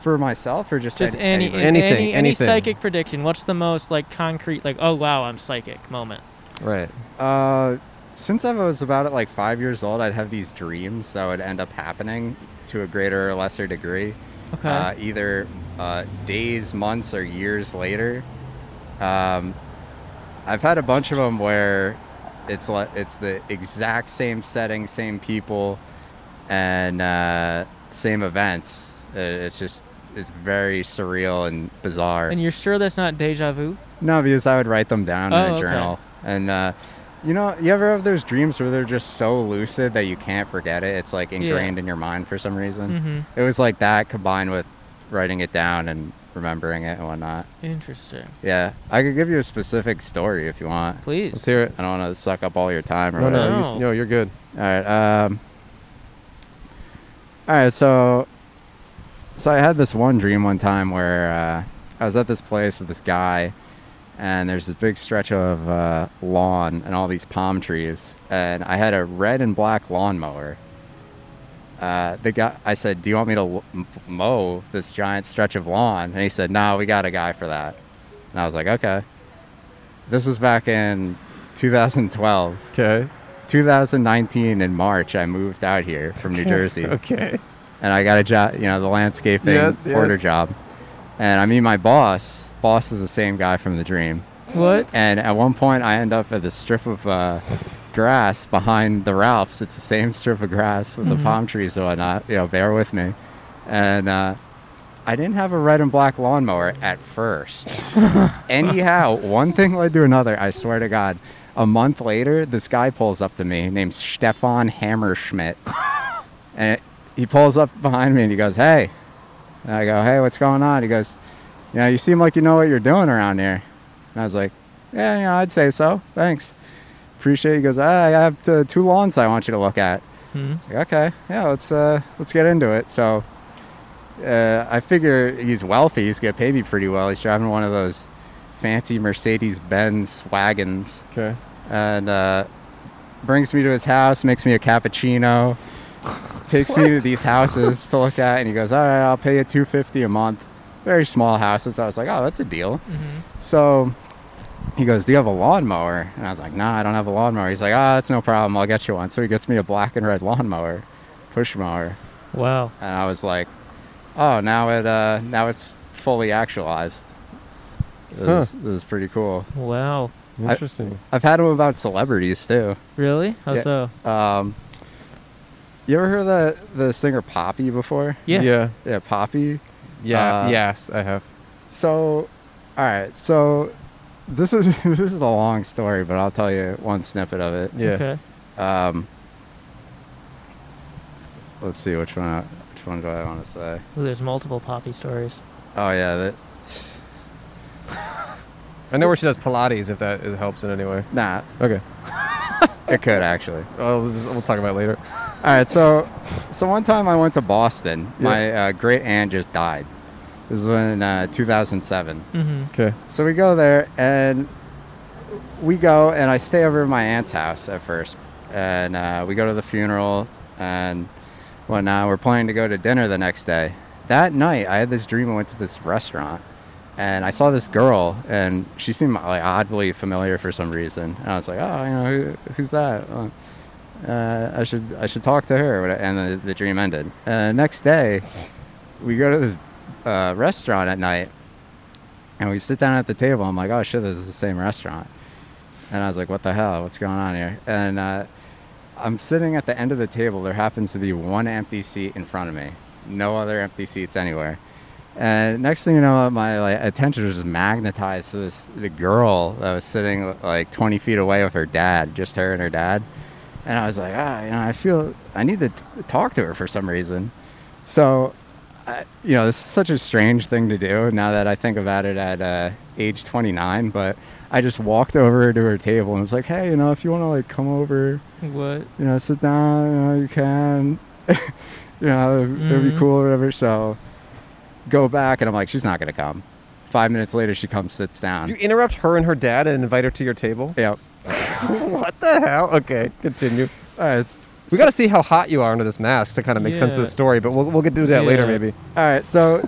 H: for myself or just,
A: Just any
H: any- anybody?
B: Anything,
A: any, any
B: anything.
A: psychic prediction. What's the most like concrete, like oh wow, I'm psychic moment?
B: Right.
H: Uh, since I was about like five years old, I'd have these dreams that would end up happening to a greater or lesser degree,
A: Okay.
H: uh, either uh, days, months, or years later. Um, I've had a bunch of them where it's le- it's the exact same setting, same people, and uh, same events. Uh, It's just it's very surreal and bizarre.
A: and you're sure that's not deja vu?
H: No, because I would write them down
A: Oh,
H: in a
A: okay.
H: journal. And uh, you know, you ever have those dreams where they're just so lucid that you can't forget it? It's like ingrained in your mind for some reason.
A: Mm-hmm.
H: It was like that combined with writing it down and remembering it and whatnot.
A: Interesting.
H: Yeah, I could give you a specific story if you want.
A: Please.
B: Let's hear it.
H: I don't want to suck up all your time or
B: No,
H: whatever.
B: no, you,
A: No.
B: s- no, you're good.
H: All right. Um, all right. So, so I had this one dream one time where uh, I was at this place with this guy, and there's this big stretch of uh, lawn and all these palm trees, and I had a red and black lawnmower. Uh, the guy, I said, "Do you want me to w- m- mow this giant stretch of lawn?" And he said, "No, we got a guy for that." And I was like, "Okay." This was back in 2012.
B: Okay.
H: 2019 in March, I moved out here from New Jersey,
B: Okay.
H: and I got a job, you know, the landscaping
B: Yes, yes.
H: porter job. And I meet my boss. Boss is the same guy from the dream.
A: What?
H: And at one point, I end up at this strip of uh, grass behind the Ralphs. It's the same strip of grass with the palm trees and whatnot. You know, bear with me. And uh, I didn't have a red and black lawnmower at first. Anyhow, one thing led to another. I swear to God. A month later, this guy pulls up to me named Stefan Hammerschmidt. and he pulls up behind me and he goes, Hey. And I go, Hey, what's going on? He goes, You know, you seem like you know what you're doing around here. And I was like, Yeah, you know, I'd say so. Thanks. Appreciate it. He goes, ah, I have uh two lawns I want you to look at.
A: Hmm?
H: Like, okay, yeah, let's uh, let's get into it. So uh, I figure he's wealthy. He's gonna pay me pretty well. He's driving one of those fancy Mercedes Benz wagons,
B: Okay.
H: and uh, brings me to his house, makes me a cappuccino, takes me to these houses to look at, and he goes, "All right, I'll pay you two fifty a month." Very small houses. I was like, "Oh, that's a deal." So he goes, "Do you have a lawnmower?" And I was like, "Nah, I don't have a lawnmower." He's like, "Ah, that's no problem. I'll get you one." So he gets me a black and red lawnmower, push mower,
A: Wow.
H: and I was like, "Oh, now it uh, now it's fully actualized." This,
B: Huh.
H: is, this is pretty cool.
A: Wow.
B: Interesting.
H: I've had them about celebrities too.
A: Really? How
H: Yeah.
A: so?
H: Um, you ever heard the the singer Poppy before?
A: Yeah.
B: Yeah.
H: Yeah, Poppy.
B: Yeah,
H: Uh,
B: yes, I have.
H: So, all right. So, this is this is a long story, but I'll tell you one snippet of it.
B: Yeah.
A: Okay.
H: Um, let's see which one. I, which one do I want to say?
A: Ooh, there's multiple Poppy stories.
H: Oh yeah, that.
B: I know where she does Pilates if that is- helps in any way.
H: Nah,
B: Okay.
H: it could actually.
B: Oh, this is, we'll talk about it later.
A: Mm-hmm.
H: All right, so so one time I went to Boston. My uh, great aunt just died. This was in uh, 2007.
A: Mm-hmm.
B: Okay.
H: So we go there and we go and I stay over at my aunt's house at first. And uh, we go to the funeral and whatnot. We're planning to go to dinner the next day. That night, I had this dream. I went to this restaurant and I saw this girl and she seemed like oddly familiar for some reason. And I was like, oh, you know, who, who's that? Uh, uh, I should I should talk to her. And the, the dream ended. And the next day, we go to this uh, restaurant at night and we sit down at the table. I'm like, oh shit, this is the same restaurant. And I was like, what the hell? What's going on here? And uh, I'm sitting at the end of the table. There happens to be one empty seat in front of me, no other empty seats anywhere. And next thing you know, my like, attention was magnetized to this the girl that was sitting like 20 feet away with her dad, just her and her dad. And I was like, ah, you know, I feel I need to t- talk to her for some reason. So, I, you know, this is such a strange thing to do now that I think about it at uh, age 29. But I just walked over to her table and was like, hey, you know, if you want to like come over,
A: What?
H: you know, sit down, you know, you can, you know, it'd, it'd
A: Mhm.
H: be cool or whatever. So go back, and I'm like, she's not going to come. Five minutes later, she comes, sits down.
B: You interrupt her and her dad and invite her to your table?
H: yep.
B: what the hell? Okay, continue.
H: All right, it's-
B: We got to see how hot you are under this mask to kind of make sense of the
A: Yeah.
B: story, but we'll, we'll get to that later
A: Yeah.
B: maybe.
H: all right, so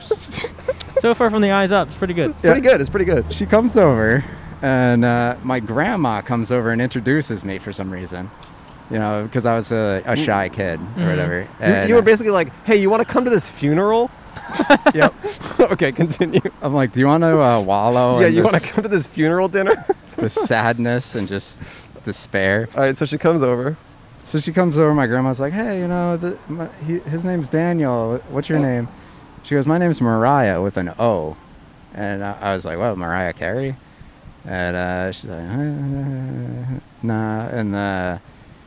A: So far from the eyes up, it's pretty good.
H: Yeah.
B: Pretty good. It's pretty good.
H: she comes over, and uh, my grandma comes over and introduces me for some reason. You know, because I was a, a shy kid or
A: Mhm.
H: whatever.
B: Mm. Mm-hmm. You,
H: And,
B: you were
H: uh,
B: basically like, "Hey, you want to come to this funeral?"
H: Yep.
B: okay, continue.
H: I'm like, do you want to uh, wallow
B: yeah,
H: in
B: you
H: this-
B: want to come to this funeral dinner?
H: the sadness and just despair?
B: All right, so she comes over.
H: So she comes over. My grandma's like, "Hey, you know, the, my, he, his name's Daniel. What's your name?" She goes, "My name's Mariah with an O," and I, I was like, "Well, Mariah Carey." And uh, she's like, uh, "Nah," and uh,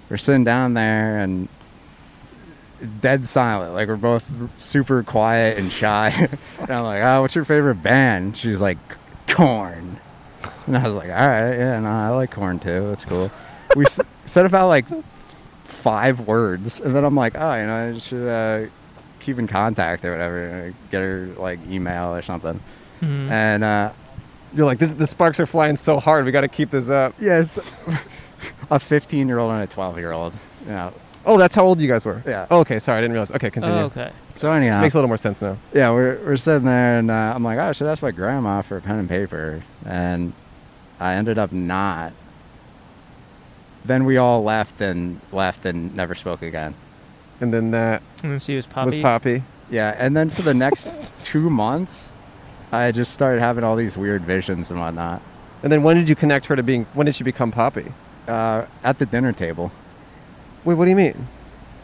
H: we're sitting down there and dead silent. Like we're both super quiet and shy. and I'm like, "Oh, what's your favorite band?" She's like, "Corn." And I was like, "All right, yeah, no, I like Corn too. That's cool." We s- said about like five words, and then I'm like, "Oh, you know, I should uh, keep in contact or whatever. Get her like email or something."
B: Mm-hmm.
A: Mhm.
H: And uh,
B: You're like, "This the sparks are flying so hard. We got to keep this up."
H: yes, a 15 year old and a 12 year old. You know.
B: Oh, that's how old you guys were.
H: Yeah. Uh.
B: Oh, okay, sorry, I didn't realize. Okay, continue.
A: Oh, okay.
H: So anyhow,
B: Makes a little more sense now.
H: yeah, we're, we're sitting there, and uh, I'm like, oh, I should ask my grandma for a pen and paper. And I ended up not. Then we all left and left and never spoke again.
B: And then that
A: And then she was
B: was
A: Poppy.
B: Poppy.
H: Yeah, and then for the next two months, I just started having all these weird visions and whatnot
B: And then when did you connect her to being? When did she become Poppy?
H: uh, at the dinner table.
B: Wait, what do you mean?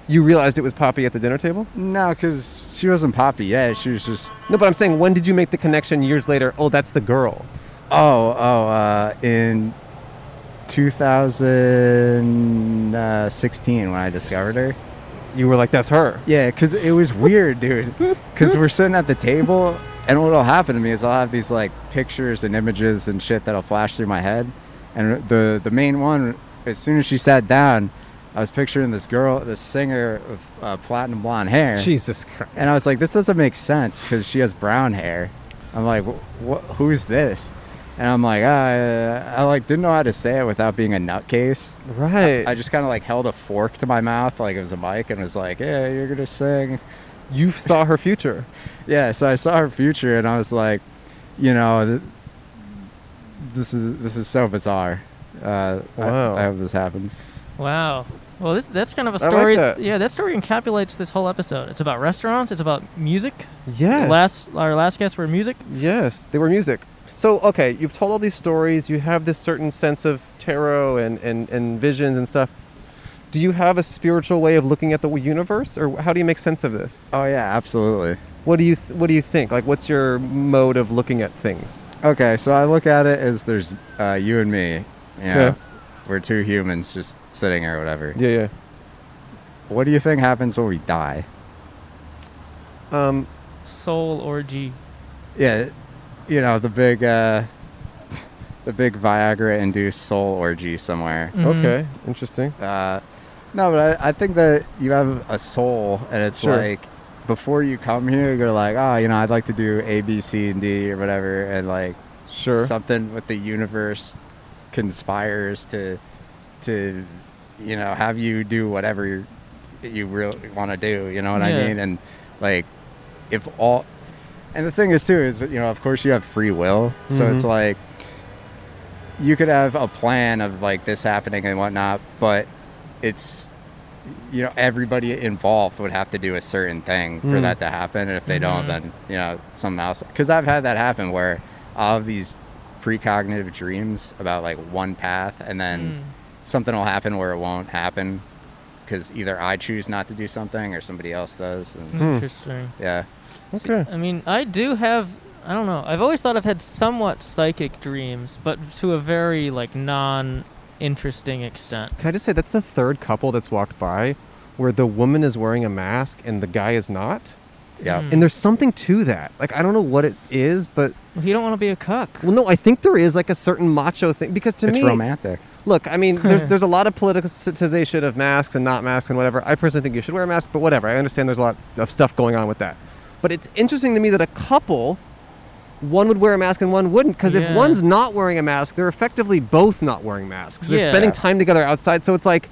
B: You realized it was Poppy at the dinner table?
H: No, because she wasn't Poppy yet. She was just
B: No, but I'm saying, when did you make the connection years later? Oh, that's the girl.
H: oh oh uh, in 2016 when I discovered her.
B: You were like, that's her.
H: Yeah, because it was weird, dude. Because we're sitting at the table, and what'll happen to me is I'll have these like pictures and images and shit that'll flash through my head, and the the main one, as soon as she sat down, I was picturing this girl, this singer with uh, platinum blonde hair,
B: Jesus Christ.
H: and I was like, this doesn't make sense because she has brown hair. I'm like, what? Who's this? And I'm like, uh, I like didn't know how to say it without being a nutcase.
B: Right.
H: I just kind of like held a fork to my mouth like it was a mic and was like, "Yeah, you're gonna sing."
B: you saw her future.
H: Yeah, so I saw her future and I was like, you know, th- this is this is so bizarre. Uh, I-
B: Wow.
H: I, hope this happens.
A: Wow. Well, this, that's kind of a
B: I like
A: story.
B: that.
A: Yeah, that story encapsulates this whole episode. It's about restaurants. It's about music.
B: Yes.
A: Last our last guests were music.
B: Yes, they were music. So okay, you've told all these stories. You have this certain sense of tarot and and, and visions and stuff. Do you have a spiritual way of looking at the universe, or how do you make sense of this?
H: Oh yeah, absolutely.
B: What do you th- What do you think? Like, what's your mode of looking at things?
H: Okay, so I look at it as there's uh, you and me. You know,
B: Okay.
H: we're two humans just sitting or whatever.
B: Yeah,
H: What do you think happens when we die?
B: yeah. Um,
A: Soul orgy.
H: Yeah, you know the big uh, the big Viagra-induced soul orgy somewhere.
A: Mhm.
B: Okay, interesting.
H: Uh, no, but I, I think that you have a soul, and it's
B: Sure.
H: like before you come here, you're like, oh, you know, I'd like to do A, B, C, and D or whatever, and like
B: Sure.
H: something with the universe conspires to to you know have you do whatever you- you really want to do. You know what
A: Yeah.
H: I mean? And like if all and the thing is too is that, you know of course you have free will, so it's
B: Mhm.
H: like you could have a plan of like this happening and whatnot, but it's you know everybody involved would have to do a certain thing for
B: Mm.
H: that to happen, and if they
A: Mhm.
H: don't, then you know something else. Because I've had that happen where I'll have these precognitive dreams about like one path, and then
A: Mm.
H: something will happen where it won't happen, because either I choose not to do something or somebody else does.
B: Hmm.
H: And,
A: Interesting.
H: yeah.
B: Okay.
A: I mean, I do have. I don't know. I've always thought I've had somewhat psychic dreams, but to a very like non-interesting extent.
B: Can I just say that's the third couple that's walked by where the woman is wearing a mask and the guy is not?
H: Yeah.
A: Mm.
B: And there's something to that. Like I don't know what it is, but
A: You don't want to be a cuck.
B: well no, I think there is like a certain macho thing because to
H: it's
B: me
H: romantic.
B: Look, I mean, there's there's a lot of politicization of masks and not masks and whatever. I personally think you should wear a mask, but whatever. I understand there's a lot of stuff going on with that. But it's interesting to me that a couple, one would wear a mask and one wouldn't, because
A: Yeah.
B: if one's not wearing a mask, they're effectively both not wearing masks. They're
A: Yeah.
B: spending time together outside, so it's like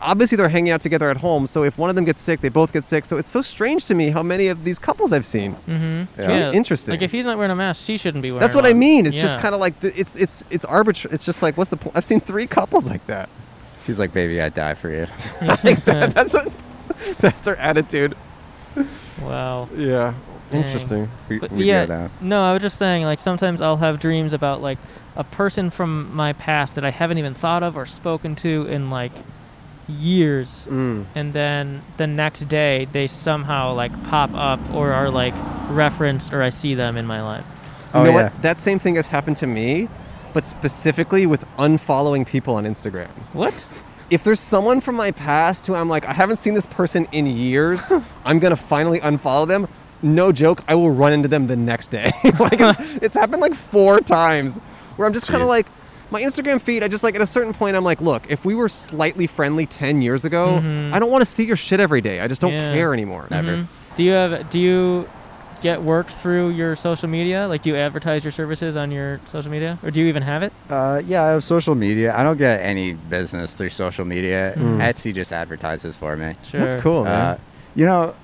B: obviously they're hanging out together at home. So if one of them gets sick, they both get sick. So it's so strange to me how many of these couples I've seen.
A: Mm-hmm.
H: Yeah. really
B: interesting.
A: Like if he's not wearing a mask, she shouldn't be wearing.
B: That's what I
A: one.
B: mean. It's just
A: Yeah.
B: kind of like th- it's it's it's arbitrary. It's just like what's the point? I've seen three couples like that.
H: She's like, baby, I'd die for you.
B: Exactly. that's what, that's her attitude.
A: wow.
B: Yeah.
A: Dang.
B: Interesting.
H: We,
A: But
H: we
A: yeah,
H: go down.
A: no, I was just saying like sometimes I'll have dreams about like a person from my past that I haven't even thought of or spoken to in like years,
B: Mm.
A: and then the next day they somehow like pop up or are like referenced or I see them in my life.
H: Oh,
B: you know
H: yeah.
B: what? That same thing has happened to me, but specifically with unfollowing people on Instagram.
A: What?
B: If there's someone from my past who I'm like, I haven't seen this person in years, I'm gonna finally unfollow them. No joke, I will run into them the next day. like it's, it's happened like four times where I'm just kind of
H: Jeez.
B: like, my Instagram feed, I just like at a certain point, I'm like, look, if we were slightly friendly 10 years ago,
A: Mhm.
B: I don't want to see your shit every day. I just don't
A: Yeah.
B: care anymore.
H: Mm-hmm. Never.
A: Mhm. Do you have? Do you get work through your social media? Like, do you advertise your services on your social media, or do you even have it?
H: Uh, yeah, I have social media. I don't get any business through social media.
B: Mm.
H: Etsy just advertises for me.
A: Sure.
B: That's cool, man.
H: Uh, you know,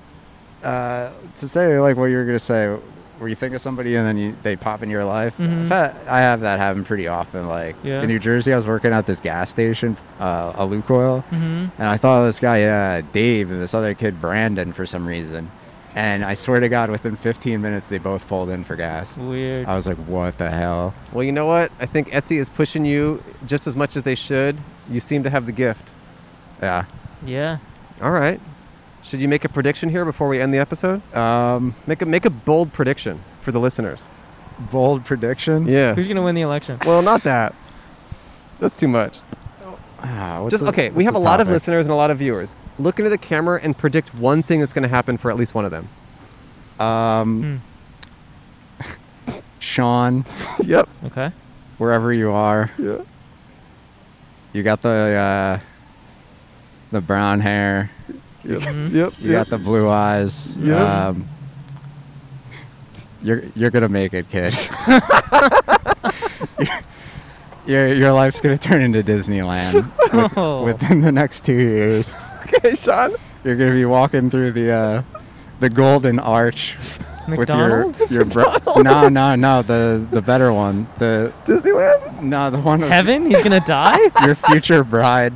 H: uh, to say like what you were gonna say, where you think of somebody and then you, they pop in your life.
A: Mhm.
B: Mm-hmm.
H: In fact, I have that happen pretty often. Like
A: Yeah.
H: in New Jersey, I was working at this gas station, uh, a Lukoil,
A: Mm-hmm.
H: and I thought of this guy uh, Dave and this other kid Brandon for some reason. And I swear to God, within 15 minutes, they both pulled in for gas.
A: Weird.
H: I was like, what the hell?
B: Well, you know what? I think Etsy is pushing you just as much as they should. You seem to have the gift.
H: Yeah.
A: yeah.
B: All right. Should you make a prediction here before we end the episode?
H: Um,
B: Make a make a bold prediction for the listeners.
H: bold prediction.
B: Yeah.
A: Who's gonna win the election?
B: Well, not that. That's too much.
H: Ah, what's
B: Just
H: the-
B: okay, we
H: what's
B: have a
H: the
B: lot of
H: topic?
B: listeners and a lot of viewers. Look into the camera and predict one thing that's going to happen for at least one of them.
A: Hmm.
H: Um, Sean,
B: yep.
A: Okay.
H: wherever you are,
B: Yeah.
H: you got the uh, the brown hair,
B: Yep.
A: Mhm.
B: Yep.
H: you got the blue eyes.
B: Yeah.
H: Um, you're you're gonna make it, kid. your your life's gonna turn into Disneyland with-
A: Oh.
H: within the next two years.
B: Okay, Sean.
H: You're gonna be walking through the uh, the golden arch
A: McDonald's?
H: with your your bro- no no no the the better one the
B: Disneyland?
H: no the one with
A: Heaven? He's gonna die?
H: your future bride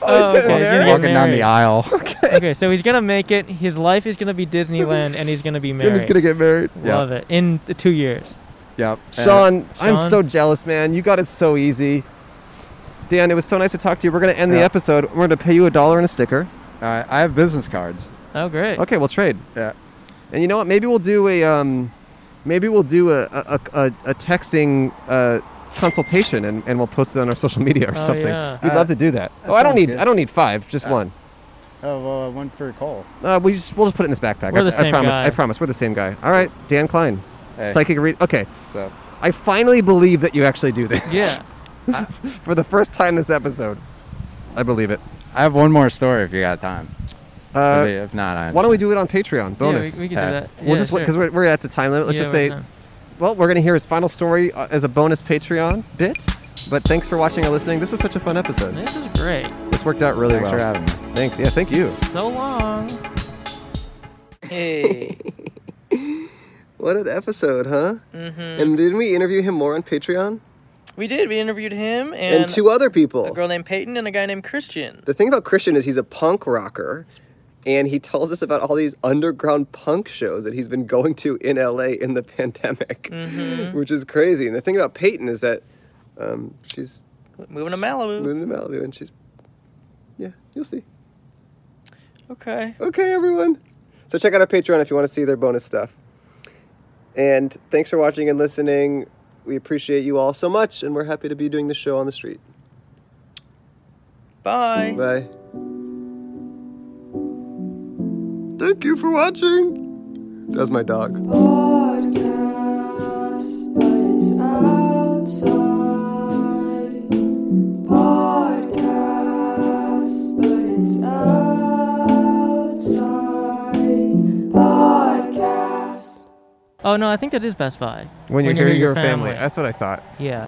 A: oh, okay,
B: getting
A: he's
B: married?
A: gonna get
H: walking down
A: married.
H: the aisle.
A: Okay, so he's gonna make it. His life is gonna be Disneyland, and he's gonna be married.
B: Jimmy's going to get married.
H: Yeah.
A: Love it. In the two years.
H: Yep.
B: Sean, I'm
A: Sean?
B: so jealous, man. You got it so easy. Dan, it was so nice to talk to you. We're going to end the
H: Yeah.
B: episode. We're going to pay you a dollar and a sticker.
H: Uh, I have business cards.
A: Oh, great.
B: Okay, we'll trade.
H: Yeah.
B: And you know what? Maybe we'll do a um, maybe we'll do a a, a, a texting uh, consultation and, and we'll post it on our social media or
A: Oh,
B: something.
A: yeah.
B: We'd
H: Uh,
B: love to do that.
H: that
B: Oh, I don't
H: sounds
B: need
H: good. Uh,
B: I don't need five, just one.
H: Oh well, one for Cole.
B: Uh, we just we'll just put it in this backpack.
A: We're
B: I,
A: the
B: I
A: same
B: promise.
A: guy.
B: I promise. We're the same guy. All right, Dan Klein,
H: Hey.
B: psychic read. Okay,
H: So
B: I finally believe that you actually do this.
A: Yeah.
B: For the first time this episode, I believe it.
H: I have one more story if you got time.
B: Uh,
H: if not, I
B: Why don't we do it on Patreon? Bonus.
A: Yeah, we, we can
H: Uh,
A: do that.
B: we, will
A: yeah,
B: just
A: sure.
B: because we're, we're at the time limit. Let's
A: Yeah,
B: just
A: we're
B: say,
A: done.
B: well, we're gonna hear his final story uh, as a bonus Patreon bit. But thanks for watching and listening. This was such a fun episode.
A: This is great.
B: This worked out really
H: Thanks
B: well.
H: for having me.
B: Thanks. Yeah. Thank you.
A: So long.
I: Hey.
B: What an episode, huh?
A: Mm-hmm.
I: hmm
B: And didn't we interview him more on Patreon?
I: We did. We interviewed him and,
B: other people.
I: a girl named Peyton and a guy named Christian.
B: The thing about Christian is he's a punk rocker, and he tells us about all these underground punk shows that he's been going to in LA in the pandemic,
A: Mm-hmm.
B: which is crazy. And the thing about Peyton is that um, she's
I: Moving to Malibu.
B: moving to Malibu, and she's yeah, you'll see.
I: Okay.
B: Okay, everyone. So check out our Patreon if you want to see their bonus stuff. And thanks for watching and listening. We appreciate you all so much, and we're happy to be doing the show on the street.
I: Bye.
B: Bye. Thank you for watching. That's my dog.
C: Podcast, but it's outside. Podcast, but it's outside. Podcast.
A: Oh no, I think that is Best Buy.
B: When you hear your family, that's what I thought.
A: yeah.